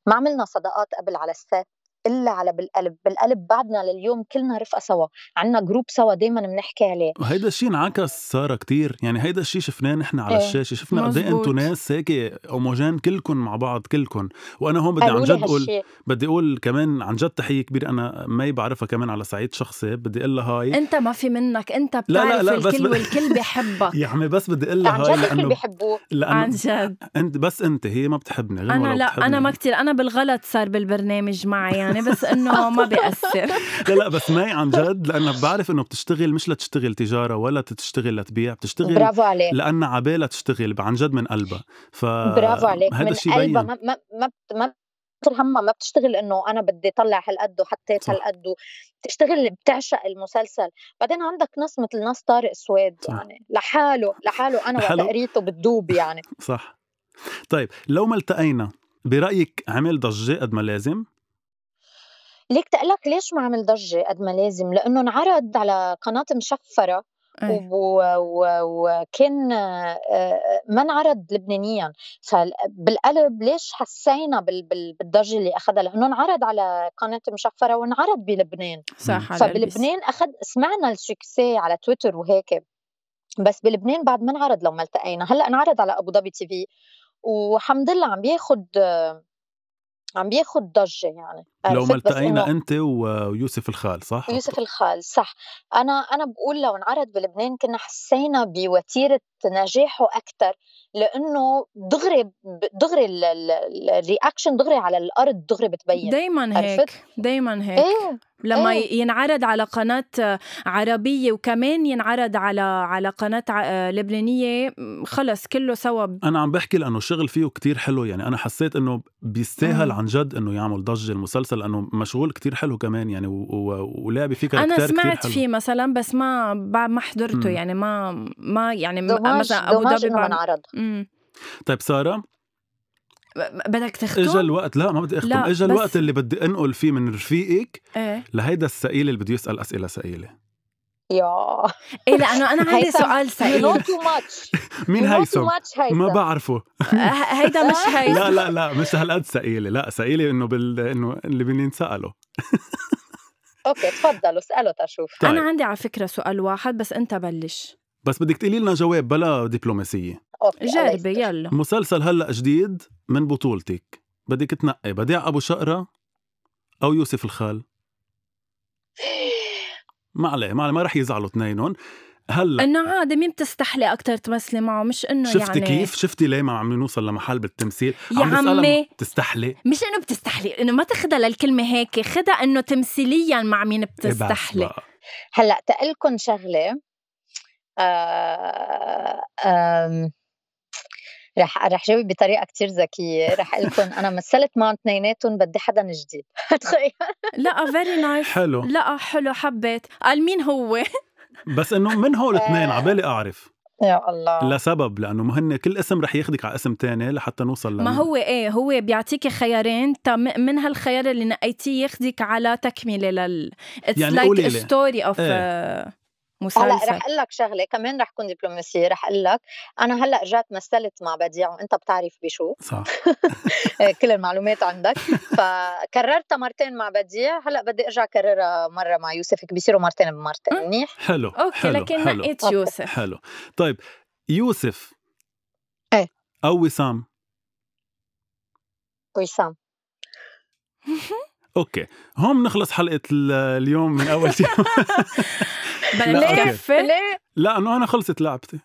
[SPEAKER 3] ما عملنا صداقات قبل على الست الا على بالقلب بالقلب بعدنا لليوم كلنا رفقه سوا عنا جروب سوا دايما بنحكي عليه
[SPEAKER 2] وهيدا الشيء انعكس ساره كتير يعني هيدا الشيء شفناه نحن على
[SPEAKER 3] إيه.
[SPEAKER 2] الشاشه شفنا قد ايه
[SPEAKER 1] مزبوط.
[SPEAKER 2] انتم ناس هيك هوموجين كلكم مع بعض كلكم وانا هون بدي عن
[SPEAKER 3] قالوا لي
[SPEAKER 2] جد اقول
[SPEAKER 3] هالشيء
[SPEAKER 2] بدي اقول كمان عن جد تحيه كبيره انا ما بعرفها كمان على صعيد شخصي بدي اقول لها هاي
[SPEAKER 1] انت ما في منك انت
[SPEAKER 2] لا،
[SPEAKER 1] بتعرف
[SPEAKER 2] لا، بس
[SPEAKER 1] الكل
[SPEAKER 2] ب-
[SPEAKER 1] والكل بيحبك
[SPEAKER 2] يا عمي يعني بس بدي اقول لها
[SPEAKER 3] عن
[SPEAKER 2] هاي
[SPEAKER 3] جد الكل
[SPEAKER 2] لانه
[SPEAKER 3] بيحبوه
[SPEAKER 1] عن
[SPEAKER 2] لانه
[SPEAKER 1] جد
[SPEAKER 2] انت بس انت هي ما بتحبني غير
[SPEAKER 1] انا
[SPEAKER 2] ولا
[SPEAKER 1] لا
[SPEAKER 2] بتحبني.
[SPEAKER 1] انا ما كتير انا بالغلط صار بالبرنامج معي يعني بس انه ما بيأثر
[SPEAKER 2] لا لا بس ماي عن جد لانها بعرف انه بتشتغل مش لتشتغل تجاره ولا تشتغل لتبيع بتشتغل
[SPEAKER 3] برافو عليك
[SPEAKER 2] لأنها عبالها تشتغل عن جد من قلبها ف
[SPEAKER 3] برافو عليك
[SPEAKER 2] آه، هذا
[SPEAKER 3] من
[SPEAKER 2] الشيء
[SPEAKER 3] قلبها
[SPEAKER 2] بين
[SPEAKER 3] ما ما ما بت- ما بتطير همها ما بتشتغل انه انا بدي طلع هالقد وحطيت
[SPEAKER 2] صح.
[SPEAKER 3] هالقد و- بتشتغل بتعشق المسلسل بعدين عندك ناس مثل ناس طارق سواد
[SPEAKER 2] صح.
[SPEAKER 3] يعني لحاله لحاله انا وقت
[SPEAKER 2] لحاله.
[SPEAKER 3] قريته بتدوب يعني
[SPEAKER 2] صح طيب لو ما التقينا برايك عمل ضجه قد ما لازم
[SPEAKER 3] ليك تقلك ليش ما عمل ضجه قد ما لازم لانه انعرض على قناه مشفره
[SPEAKER 1] إيه.
[SPEAKER 2] أيوة.
[SPEAKER 3] و- و- وكان آه، آه، ما انعرض لبنانيا فبالقلب ليش حسينا بال- بال- بالضجه اللي اخذها لانه انعرض على قناه مشفره وانعرض بلبنان
[SPEAKER 1] صح على البس.
[SPEAKER 3] فبلبنان اخذ سمعنا السكسي على تويتر وهيك بس بلبنان بعد ما انعرض لو ما التقينا هلا انعرض على ابو ظبي تي في والحمد لله عم بياخد آه، عم بياخد ضجه يعني
[SPEAKER 2] لو ما
[SPEAKER 3] عرفت؟ بس إنه-
[SPEAKER 2] التقينا انت و- ويوسف الخال صح
[SPEAKER 3] يوسف الخال صح انا انا بقول لو انعرض بلبنان كنا حسينا بوتيره نجاحه اكثر لانه دغري ب- دغري ال- ال- ال- الرياكشن دغري على الارض دغري بتبين
[SPEAKER 1] دايما
[SPEAKER 3] عرفت؟
[SPEAKER 1] هيك دايما هيك
[SPEAKER 3] ايه
[SPEAKER 1] لما
[SPEAKER 3] إيه.
[SPEAKER 1] ينعرض على قناة عربية وكمان ينعرض على على قناة ع- لبنانية م، خلص كله سوا ب-
[SPEAKER 2] انا عم بحكي لانه شغل فيه كتير حلو يعني انا حسيت انه بيستاهل
[SPEAKER 1] مم.
[SPEAKER 2] عن جد انه يعمل ضجه المسلسل لانه مشغول كتير حلو كمان يعني و- و- ولعب فيه كاركتر
[SPEAKER 1] أنا
[SPEAKER 2] كتير
[SPEAKER 1] سمعت
[SPEAKER 2] حلو
[SPEAKER 1] فيه مثلا بس ما ب- ما حضرته
[SPEAKER 2] مم.
[SPEAKER 1] يعني ما ما يعني م-
[SPEAKER 3] دوماج
[SPEAKER 1] مثلا أبو
[SPEAKER 3] دوماج
[SPEAKER 1] ظبي
[SPEAKER 3] انه ما
[SPEAKER 1] بعمل-
[SPEAKER 3] انعرض
[SPEAKER 1] مم.
[SPEAKER 2] طيب ساره
[SPEAKER 1] ب- بدك
[SPEAKER 2] اجى
[SPEAKER 1] تختم؟
[SPEAKER 2] الوقت لا ما بدي اختم
[SPEAKER 1] لا،
[SPEAKER 2] اجى
[SPEAKER 1] بس-
[SPEAKER 2] الوقت اللي بدي انقل فيه من رفيقك
[SPEAKER 1] ايه
[SPEAKER 2] لهيدا الثقيل اللي بده يسال اسئله ثقيله
[SPEAKER 3] يا
[SPEAKER 1] ايه لانه أنا عندي
[SPEAKER 3] هيثم،
[SPEAKER 1] سؤال
[SPEAKER 3] يو نو
[SPEAKER 1] سعيد
[SPEAKER 3] تو ماتش
[SPEAKER 2] مين هيثم ما
[SPEAKER 3] هيثم
[SPEAKER 2] بعرفه
[SPEAKER 1] هيدا مش هيدا
[SPEAKER 2] لا لا لا مش هالقد ثقيله لا ثقيله انه بال انه اللي بنساله
[SPEAKER 3] اوكي تفضلوا اسالوا تشوف
[SPEAKER 2] طيب.
[SPEAKER 1] أنا عندي على فكرة سؤال واحد بس أنت بلش
[SPEAKER 2] بس بدك تقولي لنا جواب بلا دبلوماسيه
[SPEAKER 3] اوكي الله
[SPEAKER 1] جربي
[SPEAKER 3] يستر.
[SPEAKER 1] يلا
[SPEAKER 2] مسلسل هلا جديد من بطولتك بدك تنقي بديع ابو شقره او يوسف الخال ما عليه ما عليه ما رح يزعلوا اثنينهم هلا
[SPEAKER 1] انه عادي مين بتستحلي اكثر تمثلي معه مش انه
[SPEAKER 2] شفتي
[SPEAKER 1] يعني
[SPEAKER 2] كيف شفتي ليه ما عم نوصل لمحل بالتمثيل إيه،
[SPEAKER 1] يا
[SPEAKER 2] عم نسألها
[SPEAKER 1] عمي.
[SPEAKER 2] بتستحلي
[SPEAKER 1] مش انه بتستحلي انه ما تاخدها للكلمه هيك خدها انه تمثيليا مع مين
[SPEAKER 2] إيه بس
[SPEAKER 1] بتستحلي
[SPEAKER 2] بقى.
[SPEAKER 3] هلا تقلكن شغله آه آم، رح رح جاوب بطريقه كتير ذكيه رح اقول لكم انا مثلت معهم اثنيناتهم بدي حدا جديد تخيل
[SPEAKER 1] لا فيري نايس
[SPEAKER 2] حلو
[SPEAKER 1] لا حلو حبيت قال مين هو
[SPEAKER 2] بس انه من هول اثنين عبالي اعرف
[SPEAKER 3] يا
[SPEAKER 1] آه.
[SPEAKER 3] الله
[SPEAKER 2] لسبب لانه مهن كل اسم رح ياخدك على اسم تاني لحتى نوصل
[SPEAKER 1] ما
[SPEAKER 2] لمين.
[SPEAKER 1] هو ايه هو بيعطيكي خيارين تا م- من هالخيار اللي نقيتيه ياخدك على تكمله لل اتس
[SPEAKER 2] يعني
[SPEAKER 1] لايك
[SPEAKER 2] قولي لي. إيه.
[SPEAKER 1] ستوري اوف
[SPEAKER 3] هلا
[SPEAKER 1] آه، مسلسل
[SPEAKER 3] رح اقول لك شغله كمان رح كون دبلوماسيه رح اقول لك انا هلا رجعت مثلت مع بديع وانت بتعرف بشو
[SPEAKER 2] صح
[SPEAKER 3] آه، كل المعلومات عندك فكررتها مرتين مع بديع هلا بدي ارجع اكررها مره مع يوسف هيك بيصيروا مرتين بمرتين منيح
[SPEAKER 2] حلو
[SPEAKER 1] اوكي
[SPEAKER 2] حلو
[SPEAKER 1] لكن إيه؟
[SPEAKER 2] حلو
[SPEAKER 1] نقيت يوسف
[SPEAKER 2] حلو طيب يوسف
[SPEAKER 3] إيه.
[SPEAKER 2] او وسام
[SPEAKER 3] وسام
[SPEAKER 2] اوكي هون بنخلص حلقه ال- اليوم من اول شيء لا،
[SPEAKER 1] بدنا
[SPEAKER 2] أوكي.
[SPEAKER 1] نكفي
[SPEAKER 3] ليه
[SPEAKER 2] لا انه انا خلصت لعبتي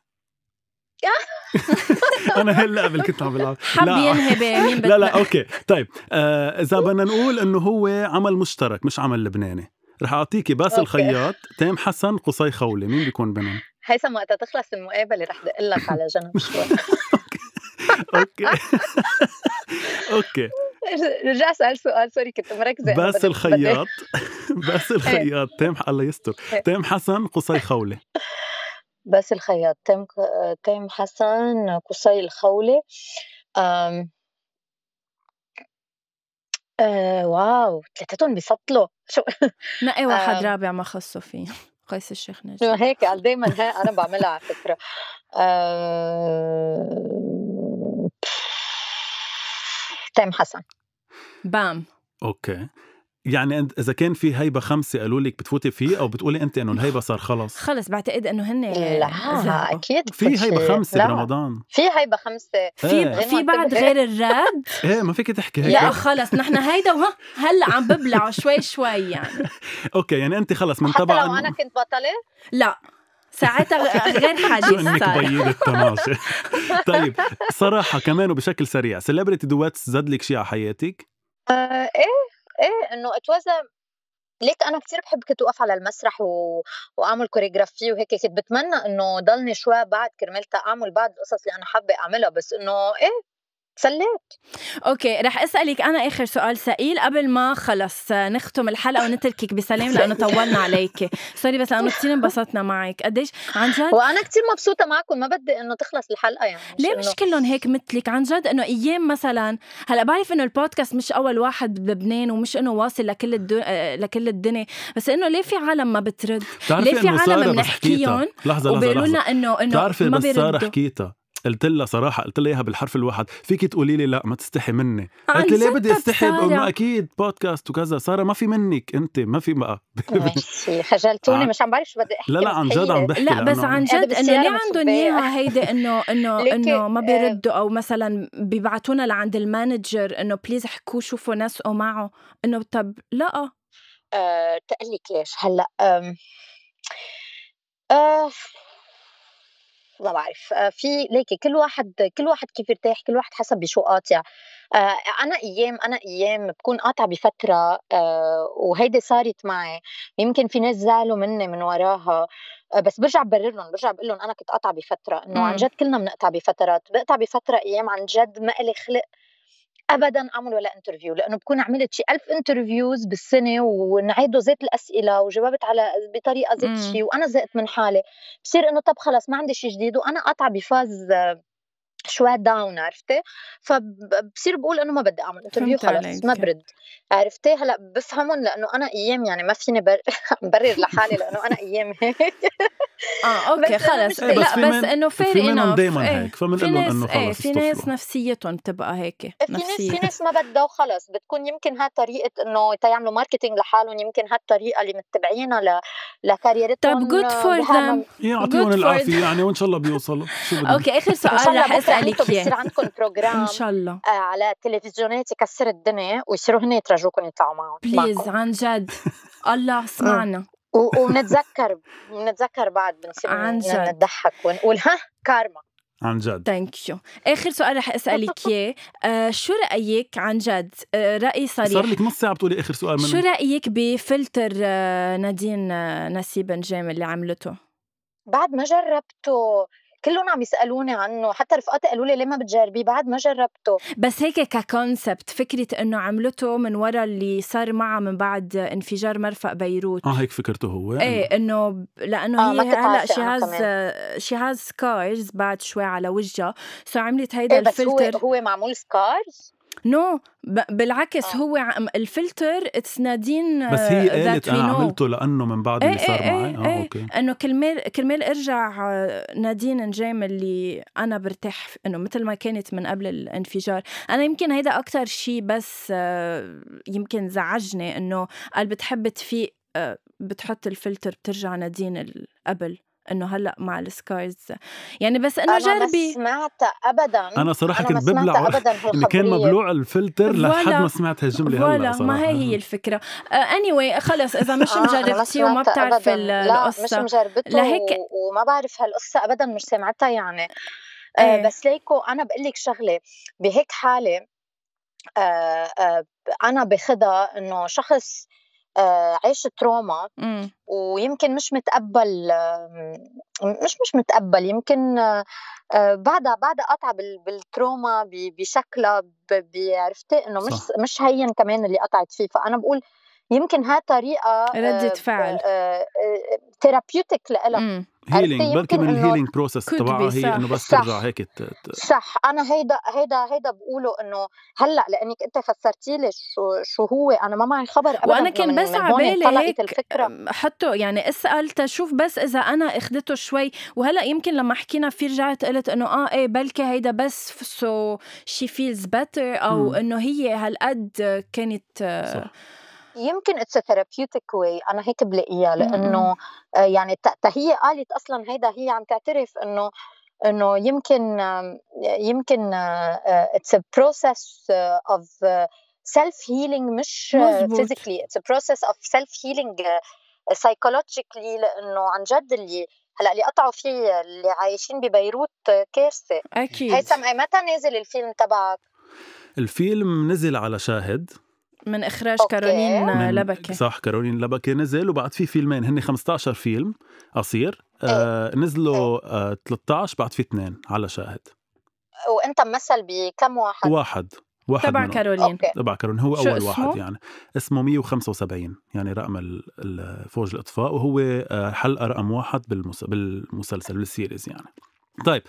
[SPEAKER 2] انا هلا قبل كنت عم بلعب
[SPEAKER 1] حب
[SPEAKER 2] لا
[SPEAKER 1] ينهبي مين
[SPEAKER 2] لا لا
[SPEAKER 1] بدنا
[SPEAKER 2] اوكي طيب آه، اذا بدنا نقول انه هو عمل مشترك مش عمل لبناني رح اعطيكي باسل
[SPEAKER 3] أوكي.
[SPEAKER 2] الخياط تيم حسن قصي خولي مين بيكون بينهم
[SPEAKER 3] هيثم وقتها تخلص المقابله رح دق لك على جنب شوي
[SPEAKER 2] اوكي اوكي
[SPEAKER 3] رجع سأل سؤال سوري كنت مركزه أنا
[SPEAKER 2] باسل
[SPEAKER 3] بدي-
[SPEAKER 2] الخياط باسل الخياط تيم الله يستر
[SPEAKER 3] إيه.
[SPEAKER 2] تيم حسن قصي خولي
[SPEAKER 3] بدي- باسل الخياط تيم ك- تيم حسن قصي الخولي أم... آه واو ثلاثتهم بيسطلوا شو
[SPEAKER 1] نقي واحد
[SPEAKER 3] آم.
[SPEAKER 1] رابع ما خصه فيه قيس الشيخ
[SPEAKER 3] شو
[SPEAKER 1] نجم
[SPEAKER 3] هيك دائما هي انا بعملها على آه، فكره أم... تيم حسن
[SPEAKER 1] بام
[SPEAKER 2] اوكي يعني أنت اذا كان في هيبه خمسه قالوا لك بتفوتي فيه او بتقولي انت انه الهيبه صار خلص
[SPEAKER 1] خلص بعتقد انه هن
[SPEAKER 3] لا
[SPEAKER 1] زهقوا.
[SPEAKER 3] اكيد
[SPEAKER 2] في
[SPEAKER 3] كل
[SPEAKER 2] هيبه
[SPEAKER 3] شي.
[SPEAKER 2] خمسه
[SPEAKER 3] لا.
[SPEAKER 2] برمضان
[SPEAKER 3] في هيبه خمسه
[SPEAKER 2] ايه,
[SPEAKER 1] في في
[SPEAKER 3] غنوة
[SPEAKER 1] بعد
[SPEAKER 3] تبهر.
[SPEAKER 1] غير الرد
[SPEAKER 2] إيه ما فيك تحكي هيك
[SPEAKER 1] لا خلص نحن هيدا وها هلا عم ببلعوا شوي شوي يعني
[SPEAKER 2] اوكي يعني انت خلص من
[SPEAKER 3] حتى
[SPEAKER 2] تبع
[SPEAKER 3] لو انا
[SPEAKER 2] إنه-
[SPEAKER 3] كنت بطله
[SPEAKER 1] لا ساعتها غير
[SPEAKER 2] شو
[SPEAKER 1] حديث
[SPEAKER 2] انك
[SPEAKER 1] صار
[SPEAKER 2] بيض الطناشه طيب صراحه كمان وبشكل سريع سيلبرتي دواتس زاد لك شيء على حياتك
[SPEAKER 3] آه، ايه ايه انه اتوزع ليك انا كثير بحب كنت اوقف على المسرح و... واعمل كوريغرافي وهيك كنت بتمنى انه ضلني شوي بعد كرمال تا اعمل بعض القصص اللي انا حابه اعملها بس انه ايه تسليت
[SPEAKER 1] اوكي رح اسالك انا اخر سؤال سئيل قبل ما خلص نختم الحلقه ونتركك بسلام لانه طولنا عليك سوري بس لانه كثير انبسطنا معك قديش عن جد
[SPEAKER 3] وانا كثير مبسوطه معكم ما بدي انه تخلص الحلقه يعني
[SPEAKER 1] ليه
[SPEAKER 3] إنه-
[SPEAKER 1] مش كلهم هيك مثلك عن جد انه ايام مثلا هلا بعرف انه البودكاست مش اول واحد بلبنان ومش انه واصل لكل الدو... آه، لكل الدنيا بس انه ليه في عالم ما بترد
[SPEAKER 2] بتعرفي
[SPEAKER 1] ليه في
[SPEAKER 2] إنه
[SPEAKER 1] عالم
[SPEAKER 2] سارة بس
[SPEAKER 1] بنحكيهم
[SPEAKER 2] حكيتها؟ لحظه لحظه
[SPEAKER 1] وبيقولوا لنا
[SPEAKER 2] لحظه
[SPEAKER 1] انه انه
[SPEAKER 2] بتعرفي
[SPEAKER 1] ما
[SPEAKER 2] بس ساره
[SPEAKER 1] بيردوا
[SPEAKER 2] حكيتها قلت لها صراحه قلت لها اياها بالحرف الواحد فيك تقولي لي لا ما تستحي مني
[SPEAKER 1] عن
[SPEAKER 2] قالت لي ليه
[SPEAKER 1] جد يعني-
[SPEAKER 2] بدي استحي
[SPEAKER 1] سارة.
[SPEAKER 2] بقول ما اكيد بودكاست وكذا ساره ما في منك انت ما في بقى
[SPEAKER 3] ماشي خجلتوني
[SPEAKER 2] عن-
[SPEAKER 3] مش عم بعرف شو بدي احكي
[SPEAKER 2] آه. لا لا عن جد عم
[SPEAKER 3] مستحيل.
[SPEAKER 2] بحكي
[SPEAKER 1] إيه، لا بس
[SPEAKER 2] لأنه إيه،
[SPEAKER 1] عن
[SPEAKER 3] قاعدة
[SPEAKER 1] جد انه
[SPEAKER 3] بالسيارة
[SPEAKER 1] ليه
[SPEAKER 3] مع
[SPEAKER 1] عندهم
[SPEAKER 3] صبية.
[SPEAKER 1] اياها هيدا انه انه
[SPEAKER 3] ليكي،
[SPEAKER 1] انه ما
[SPEAKER 3] آه،
[SPEAKER 1] بيردوا او مثلا بيبعتونا لعند المانجر انه بليز احكوا شوفوا نسقوا معه انه طب لا
[SPEAKER 3] آه، تقلك ليش هلا آم، آه، ما بعرف آه، في ليكي كل واحد كل واحد كيف يرتاح كل واحد حسب بشو قاطع آه، انا ايام انا ايام بكون قاطع بفتره آه، وهيدي صارت معي يمكن في ناس زعلوا مني من وراها آه، بس برجع ببرر لهم برجع بقول لهم انا كنت قاطعه بفتره انه
[SPEAKER 1] مم.
[SPEAKER 3] عن جد كلنا بنقطع بفترات بقطع بفتره ايام عن جد ما لي خلق ابدا اعمل ولا انترفيو لانه بكون عملت شي ألف انترفيوز بالسنه ونعيدوا زيت الاسئله وجاوبت على بطريقه زيت
[SPEAKER 1] مم.
[SPEAKER 3] شي وانا زهقت من حالي بصير انه طب خلص ما عندي شي جديد وانا قاطعه بفاز آه، شوي داون عرفتي فبصير بقول انه ما بدي اعمل انترفيو
[SPEAKER 1] فهمت
[SPEAKER 3] خلص
[SPEAKER 1] عليك.
[SPEAKER 3] ما برد عرفتي هلا بفهمهم لانه انا ايام يعني ما فيني بر... برر لحالي لانه انا ايام هيك
[SPEAKER 1] اه اوكي
[SPEAKER 3] بس إنه
[SPEAKER 1] خلص
[SPEAKER 3] مش-
[SPEAKER 1] لا
[SPEAKER 3] إيه، بس
[SPEAKER 1] بس
[SPEAKER 2] في من-
[SPEAKER 1] انه فير
[SPEAKER 2] في منهم دايما
[SPEAKER 1] إيه.
[SPEAKER 2] هيك فمن
[SPEAKER 1] في
[SPEAKER 2] لهم
[SPEAKER 1] ناس
[SPEAKER 2] انه
[SPEAKER 1] ايه
[SPEAKER 2] خلص
[SPEAKER 1] في ناس
[SPEAKER 2] اصطفلوا.
[SPEAKER 1] نفسيتهم تبقى هيك
[SPEAKER 3] إيه، في ناس
[SPEAKER 1] نفسيه
[SPEAKER 3] في ناس ما بدها وخلص بتكون يمكن ها طريقه انه تيعملوا ماركتينج لحالهم يمكن ها الطريقه اللي متبعينها ل... لكاريرتهم
[SPEAKER 1] طب good for
[SPEAKER 3] بهذا
[SPEAKER 1] them.
[SPEAKER 3] م-
[SPEAKER 2] يعطيهم
[SPEAKER 1] Good for
[SPEAKER 2] العافيه
[SPEAKER 1] them.
[SPEAKER 2] إيه، يعني وان شاء الله بيوصلوا شو بدنا
[SPEAKER 1] اوكي اخر
[SPEAKER 3] ان
[SPEAKER 1] سؤال
[SPEAKER 3] شاء
[SPEAKER 1] آه، رح
[SPEAKER 3] الله بكره انتم
[SPEAKER 1] اسالك
[SPEAKER 3] بيصير
[SPEAKER 1] اياه
[SPEAKER 3] عندكم
[SPEAKER 1] ان
[SPEAKER 3] بروجرام
[SPEAKER 1] شاء الله
[SPEAKER 3] آه، على تلفزيونات يكسر الدنيا ويصيروا هن يترجوكم يطلعوا معهم
[SPEAKER 1] بليز عن جد الله اسمعنا
[SPEAKER 3] ونتذكر نتذكر بعد بنصير يعني
[SPEAKER 1] عن جد.
[SPEAKER 3] نضحك ونقول ها كارما
[SPEAKER 2] عن جد
[SPEAKER 1] ثانك يو اخر سؤال رح اسالك اياه آه، شو رايك عن جد آه، راي
[SPEAKER 2] صار
[SPEAKER 1] صريح
[SPEAKER 2] لك نص ساعه بتقولي اخر سؤال
[SPEAKER 1] شو
[SPEAKER 2] من
[SPEAKER 1] رايك بفلتر آه، نادين آه، نسيب نجام اللي عملته
[SPEAKER 3] بعد ما جربته كلهم عم يسالوني عنه حتى رفقاتي قالوا لي ليه ما بتجربيه بعد ما جربته
[SPEAKER 1] بس هيك ككونسبت فكره انه عملته من ورا اللي صار معها من بعد انفجار مرفق بيروت
[SPEAKER 2] اه هيك فكرته هو
[SPEAKER 1] ايه انه ب- لانه
[SPEAKER 3] آه، ما
[SPEAKER 1] هي
[SPEAKER 3] كنت
[SPEAKER 1] هلا
[SPEAKER 3] عارفة
[SPEAKER 1] شي
[SPEAKER 3] أنا
[SPEAKER 1] هاز شي هاز سكارز بعد شوي على وجهها سو عملت هيدا
[SPEAKER 3] إيه بس هو
[SPEAKER 1] الفلتر
[SPEAKER 3] هو معمول سكارز
[SPEAKER 1] نو ب- بالعكس
[SPEAKER 3] آه.
[SPEAKER 1] هو عم- الفلتر اتس نادين
[SPEAKER 2] بس هي
[SPEAKER 1] آه،
[SPEAKER 2] قالت
[SPEAKER 1] that we
[SPEAKER 2] انا
[SPEAKER 1] know.
[SPEAKER 2] عملته لانه من بعد
[SPEAKER 1] إيه
[SPEAKER 2] اللي صار
[SPEAKER 1] إيه
[SPEAKER 2] معي
[SPEAKER 1] إيه
[SPEAKER 2] اه
[SPEAKER 1] إيه.
[SPEAKER 2] اوكي
[SPEAKER 1] انه كرمال كرمال ارجع آه، نادين نجام اللي انا برتاح ف- انه مثل ما كانت من قبل الانفجار انا يمكن هيدا اكثر شيء بس آه، يمكن زعجني انه قال بتحب تفيق آه، بتحط الفلتر بترجع نادين ال- قبل انه هلا مع السكارز يعني بس انه
[SPEAKER 3] انا ما
[SPEAKER 1] جربي
[SPEAKER 3] سمعت ابدا
[SPEAKER 2] أنا صراحة
[SPEAKER 3] أنا ما
[SPEAKER 2] كنت ببلع
[SPEAKER 3] سمعت ابدا
[SPEAKER 2] ان كان
[SPEAKER 3] هالخبرية.
[SPEAKER 2] مبلوع الفلتر لحد
[SPEAKER 1] فوالا.
[SPEAKER 2] ما سمعت هالجمله هلا
[SPEAKER 1] فوالا
[SPEAKER 2] صراحه
[SPEAKER 1] ما هي هي الفكره اني anyway, خلص اذا مش
[SPEAKER 3] آه، أنا ما
[SPEAKER 1] مجربتيه وما
[SPEAKER 3] سمعتها
[SPEAKER 1] بتعرفي
[SPEAKER 3] أبداً.
[SPEAKER 1] ال-
[SPEAKER 3] لا مش
[SPEAKER 1] القصه
[SPEAKER 3] مجربته
[SPEAKER 1] لهيك-
[SPEAKER 3] و- وما بعرف هالقصه ابدا مش سمعتها يعني آه،
[SPEAKER 1] إيه.
[SPEAKER 3] بس ليكو انا بقول لك شغله بهيك حاله آه، آه، انا باخدها انه شخص آه، عاش تروما
[SPEAKER 1] مم.
[SPEAKER 3] ويمكن مش متقبل آه، م- مش مش متقبل يمكن آه، آه، بعدها بعدها قطع بال- بالتروما ب- بشكلها ب- ب- عرفتي انه مش
[SPEAKER 2] صح.
[SPEAKER 3] مش هين كمان اللي قطعت فيه فانا بقول يمكن آه، ها طريقه
[SPEAKER 1] ردة فعل.
[SPEAKER 3] آه، ثيرابيوتيك لإلها
[SPEAKER 1] مم.
[SPEAKER 2] هيلينج
[SPEAKER 3] عرفتي
[SPEAKER 2] بلكي من
[SPEAKER 3] يمكن إنه
[SPEAKER 2] الهيلينج بروسس
[SPEAKER 1] could be
[SPEAKER 2] تبعها
[SPEAKER 1] صح.
[SPEAKER 2] هي انه بس
[SPEAKER 3] صح.
[SPEAKER 2] ترجع هيك ت- ت-
[SPEAKER 3] صح انا هيدا هيدا هيدا بقوله انه هلا لانك انت فسرتي لي شو شو هو انا ما معي خبر ابدا
[SPEAKER 1] وانا
[SPEAKER 3] إنه
[SPEAKER 1] كان
[SPEAKER 3] من-
[SPEAKER 1] بس
[SPEAKER 3] من
[SPEAKER 1] على
[SPEAKER 3] هون
[SPEAKER 1] بالي
[SPEAKER 3] طلعت
[SPEAKER 1] هيك
[SPEAKER 3] الفكره
[SPEAKER 1] حطه يعني اسال تشوف بس اذا انا اخدته شوي وهلا يمكن لما حكينا فيه رجعت قلت انه اه ايه بلكي هيدا بس سو شي فيلز بيتر او
[SPEAKER 2] مم.
[SPEAKER 1] انه هي هالقد كانت
[SPEAKER 2] صح.
[SPEAKER 3] يمكن اتس ثيرابيوتيك واي انا هيك بلاقيها
[SPEAKER 1] م- م.
[SPEAKER 3] لانه آه، يعني تا تا هي قالت اصلا هيدا هي عم تعترف انه انه يمكن آم، يمكن آه، اتس بروسس اوف سيلف هيلينج مش
[SPEAKER 1] مزبوط.
[SPEAKER 3] فيزيكلي اتس بروسس اوف سيلف هيلينج سايكولوجيكلي لانه آه، عن جد اللي هلا اللي قطعوا فيه اللي عايشين ببيروت آه، كارثه
[SPEAKER 1] اكيد
[SPEAKER 3] هيثم أي متى نازل الفيلم تبعك
[SPEAKER 2] الفيلم نزل على شاهد
[SPEAKER 1] من اخراج
[SPEAKER 3] أوكي.
[SPEAKER 1] كارولين
[SPEAKER 2] من-
[SPEAKER 1] لبكه
[SPEAKER 2] صح كارولين لبكه نزل وبعد في فيلمين هن 15 فيلم قصير آه
[SPEAKER 1] إيه.
[SPEAKER 2] نزلوا آه 13 بعد في اثنين على شاهد
[SPEAKER 3] وانت ممثل بكم واحد
[SPEAKER 2] واحد واحد
[SPEAKER 1] تبع
[SPEAKER 2] منهم.
[SPEAKER 1] كارولين
[SPEAKER 3] اوكي
[SPEAKER 2] تبع كارون هو
[SPEAKER 1] شو
[SPEAKER 2] اول
[SPEAKER 1] اسمه؟
[SPEAKER 2] واحد يعني اسمه 175 يعني رقم ال- ال- فوج الاطفاء وهو آه، حلقه رقم واحد بالمس... بالمسلسل بالسيريز يعني طيب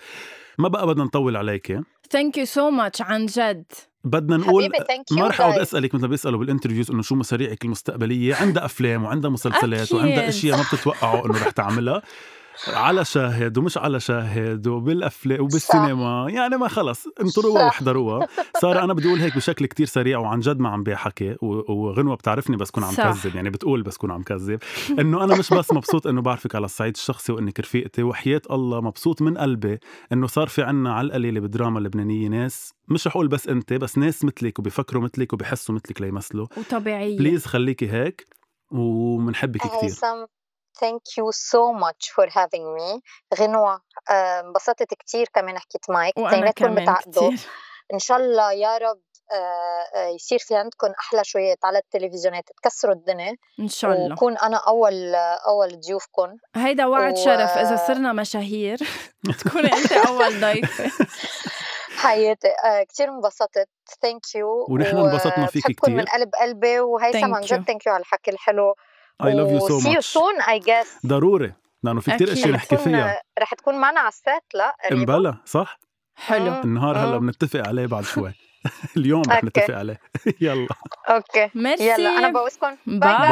[SPEAKER 2] ما بقى بدنا نطول عليك
[SPEAKER 1] ثانك يو سو ماتش عن جد
[SPEAKER 2] بدنا نقول
[SPEAKER 3] حبيبي ثانك يو
[SPEAKER 2] ما رح اقعد اسالك مثل ما بيسالوا بالانترفيوز انه شو مشاريعك المستقبليه عندها افلام وعندها مسلسلات
[SPEAKER 1] أكيد.
[SPEAKER 2] وعندها اشياء ما بتتوقعوا انه رح تعملها على شاهد ومش على شاهد وبالافلام وبالسينما يعني ما خلص انطروها
[SPEAKER 3] صح.
[SPEAKER 2] واحضروها صار انا بدي اقول هيك بشكل كتير سريع وعن جد ما عم بحكي و- وغنوه بتعرفني بس كون عم
[SPEAKER 1] صح.
[SPEAKER 2] كذب يعني بتقول بس كون عم كذب انه انا مش بس مبسوط انه بعرفك على الصعيد الشخصي وانك رفيقتي وحياه الله مبسوط من قلبي انه صار في عنا على القليله بالدراما اللبنانيه ناس مش رح اقول بس انت بس ناس مثلك وبيفكروا مثلك وبيحسوا مثلك ليمثلوا
[SPEAKER 1] وطبيعيه
[SPEAKER 2] بليز خليكي هيك ومنحبك كثير
[SPEAKER 3] هيثم thank you so much for having me غنوة آه، انبسطت كتير كمان حكيت معك
[SPEAKER 1] وانا
[SPEAKER 3] تنيناتكم
[SPEAKER 1] كمان
[SPEAKER 3] بتعقدوا
[SPEAKER 1] كثير
[SPEAKER 3] ان شاء الله يا رب آه، آه، يصير في عندكم احلى شويات على التلفزيونات تكسروا الدنيا
[SPEAKER 1] ان شاء الله
[SPEAKER 3] وكون انا اول آه، اول ضيوفكم
[SPEAKER 1] هيدا وعد
[SPEAKER 3] و-
[SPEAKER 1] شرف اذا صرنا مشاهير تكوني انت اول ضيفه
[SPEAKER 3] حياتي آه، كتير انبسطت thank you
[SPEAKER 2] ونحن انبسطنا فيك
[SPEAKER 3] بحبكم من
[SPEAKER 2] كتير.
[SPEAKER 3] قلب قلبي وهيثم
[SPEAKER 1] Thank
[SPEAKER 3] عن جد
[SPEAKER 1] you.
[SPEAKER 3] thank you على الحكي الحلو
[SPEAKER 2] اي لاف يو
[SPEAKER 3] و
[SPEAKER 2] سو
[SPEAKER 3] see you
[SPEAKER 2] ماتش
[SPEAKER 3] soon I guess
[SPEAKER 2] ضروري لانه في كثير
[SPEAKER 1] أكيد.
[SPEAKER 2] اشياء
[SPEAKER 3] رح
[SPEAKER 2] نحكي
[SPEAKER 3] تكون-
[SPEAKER 2] فيها
[SPEAKER 3] رح تكون معنا على السات لا قريبا
[SPEAKER 2] امبلا صح
[SPEAKER 1] حلو
[SPEAKER 3] مم.
[SPEAKER 2] النهار هلا
[SPEAKER 3] آه.
[SPEAKER 2] بنتفق عليه بعد شوي اليوم رح
[SPEAKER 3] أوكي.
[SPEAKER 2] نتفق عليه يلا
[SPEAKER 3] اوكي
[SPEAKER 1] ميرسي
[SPEAKER 3] يلا انا بوسكن باي باي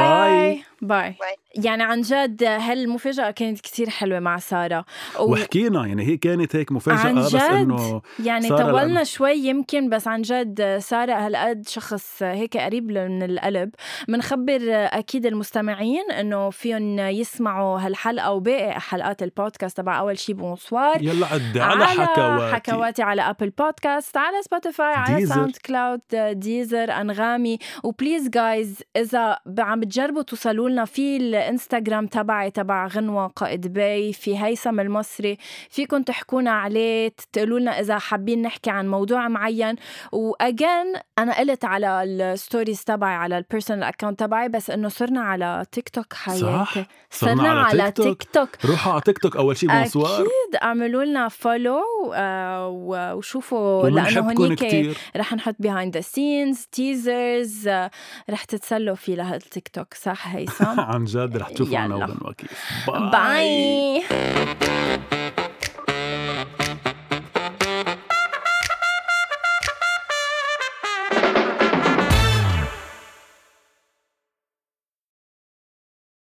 [SPEAKER 1] باي باي
[SPEAKER 3] باي.
[SPEAKER 1] يعني عن جد هالمفاجأة كانت كتير حلوة مع سارة و-
[SPEAKER 2] وحكينا يعني هي كانت هيك مفاجاه
[SPEAKER 1] عن
[SPEAKER 2] بس
[SPEAKER 1] جد
[SPEAKER 2] انه
[SPEAKER 1] يعني
[SPEAKER 2] سارة
[SPEAKER 1] طولنا
[SPEAKER 2] لأنه-
[SPEAKER 1] شوي يمكن بس عن جد سارة هالقد شخص هيك قريب من القلب منخبر أكيد المستمعين إنه فيهم يسمعوا هالحلقة وباقي حلقات البودكاست تبع أول شي بونسوار
[SPEAKER 2] يلا عد على حكواتي
[SPEAKER 1] حكواتي على ابل بودكاست على سبوتيفاي على آه،
[SPEAKER 2] ديزر.
[SPEAKER 1] ساوند كلاود ديزر انغامي وبليز جايز اذا ب- عم بتجربوا توصلوا قلنا في الانستغرام تبعي تبع غنوه قائد بي في هيثم المصري فيكم تحكونا عليه تقولوا لنا اذا حابين نحكي عن موضوع معين واجين انا قلت على الستوريز تبعي على البيرسونال اكونت تبعي بس انه صرنا على تيك توك حياتي
[SPEAKER 2] صح صرنا على تيك توك.
[SPEAKER 1] توك
[SPEAKER 2] روحوا على تيك توك اول شيء بونسوار
[SPEAKER 1] اكيد اعملوا لنا فولو وشوفوا لانه
[SPEAKER 2] وبنحبكم
[SPEAKER 1] هنيك
[SPEAKER 2] كثير
[SPEAKER 1] رح نحط بيهايند ذا سينز تيزرز آه، رح تتسلوا في لهالتيك توك صح هيثم
[SPEAKER 2] عن جد رح تشوفوا
[SPEAKER 1] يلا.
[SPEAKER 2] عنا وبنوكي
[SPEAKER 1] باي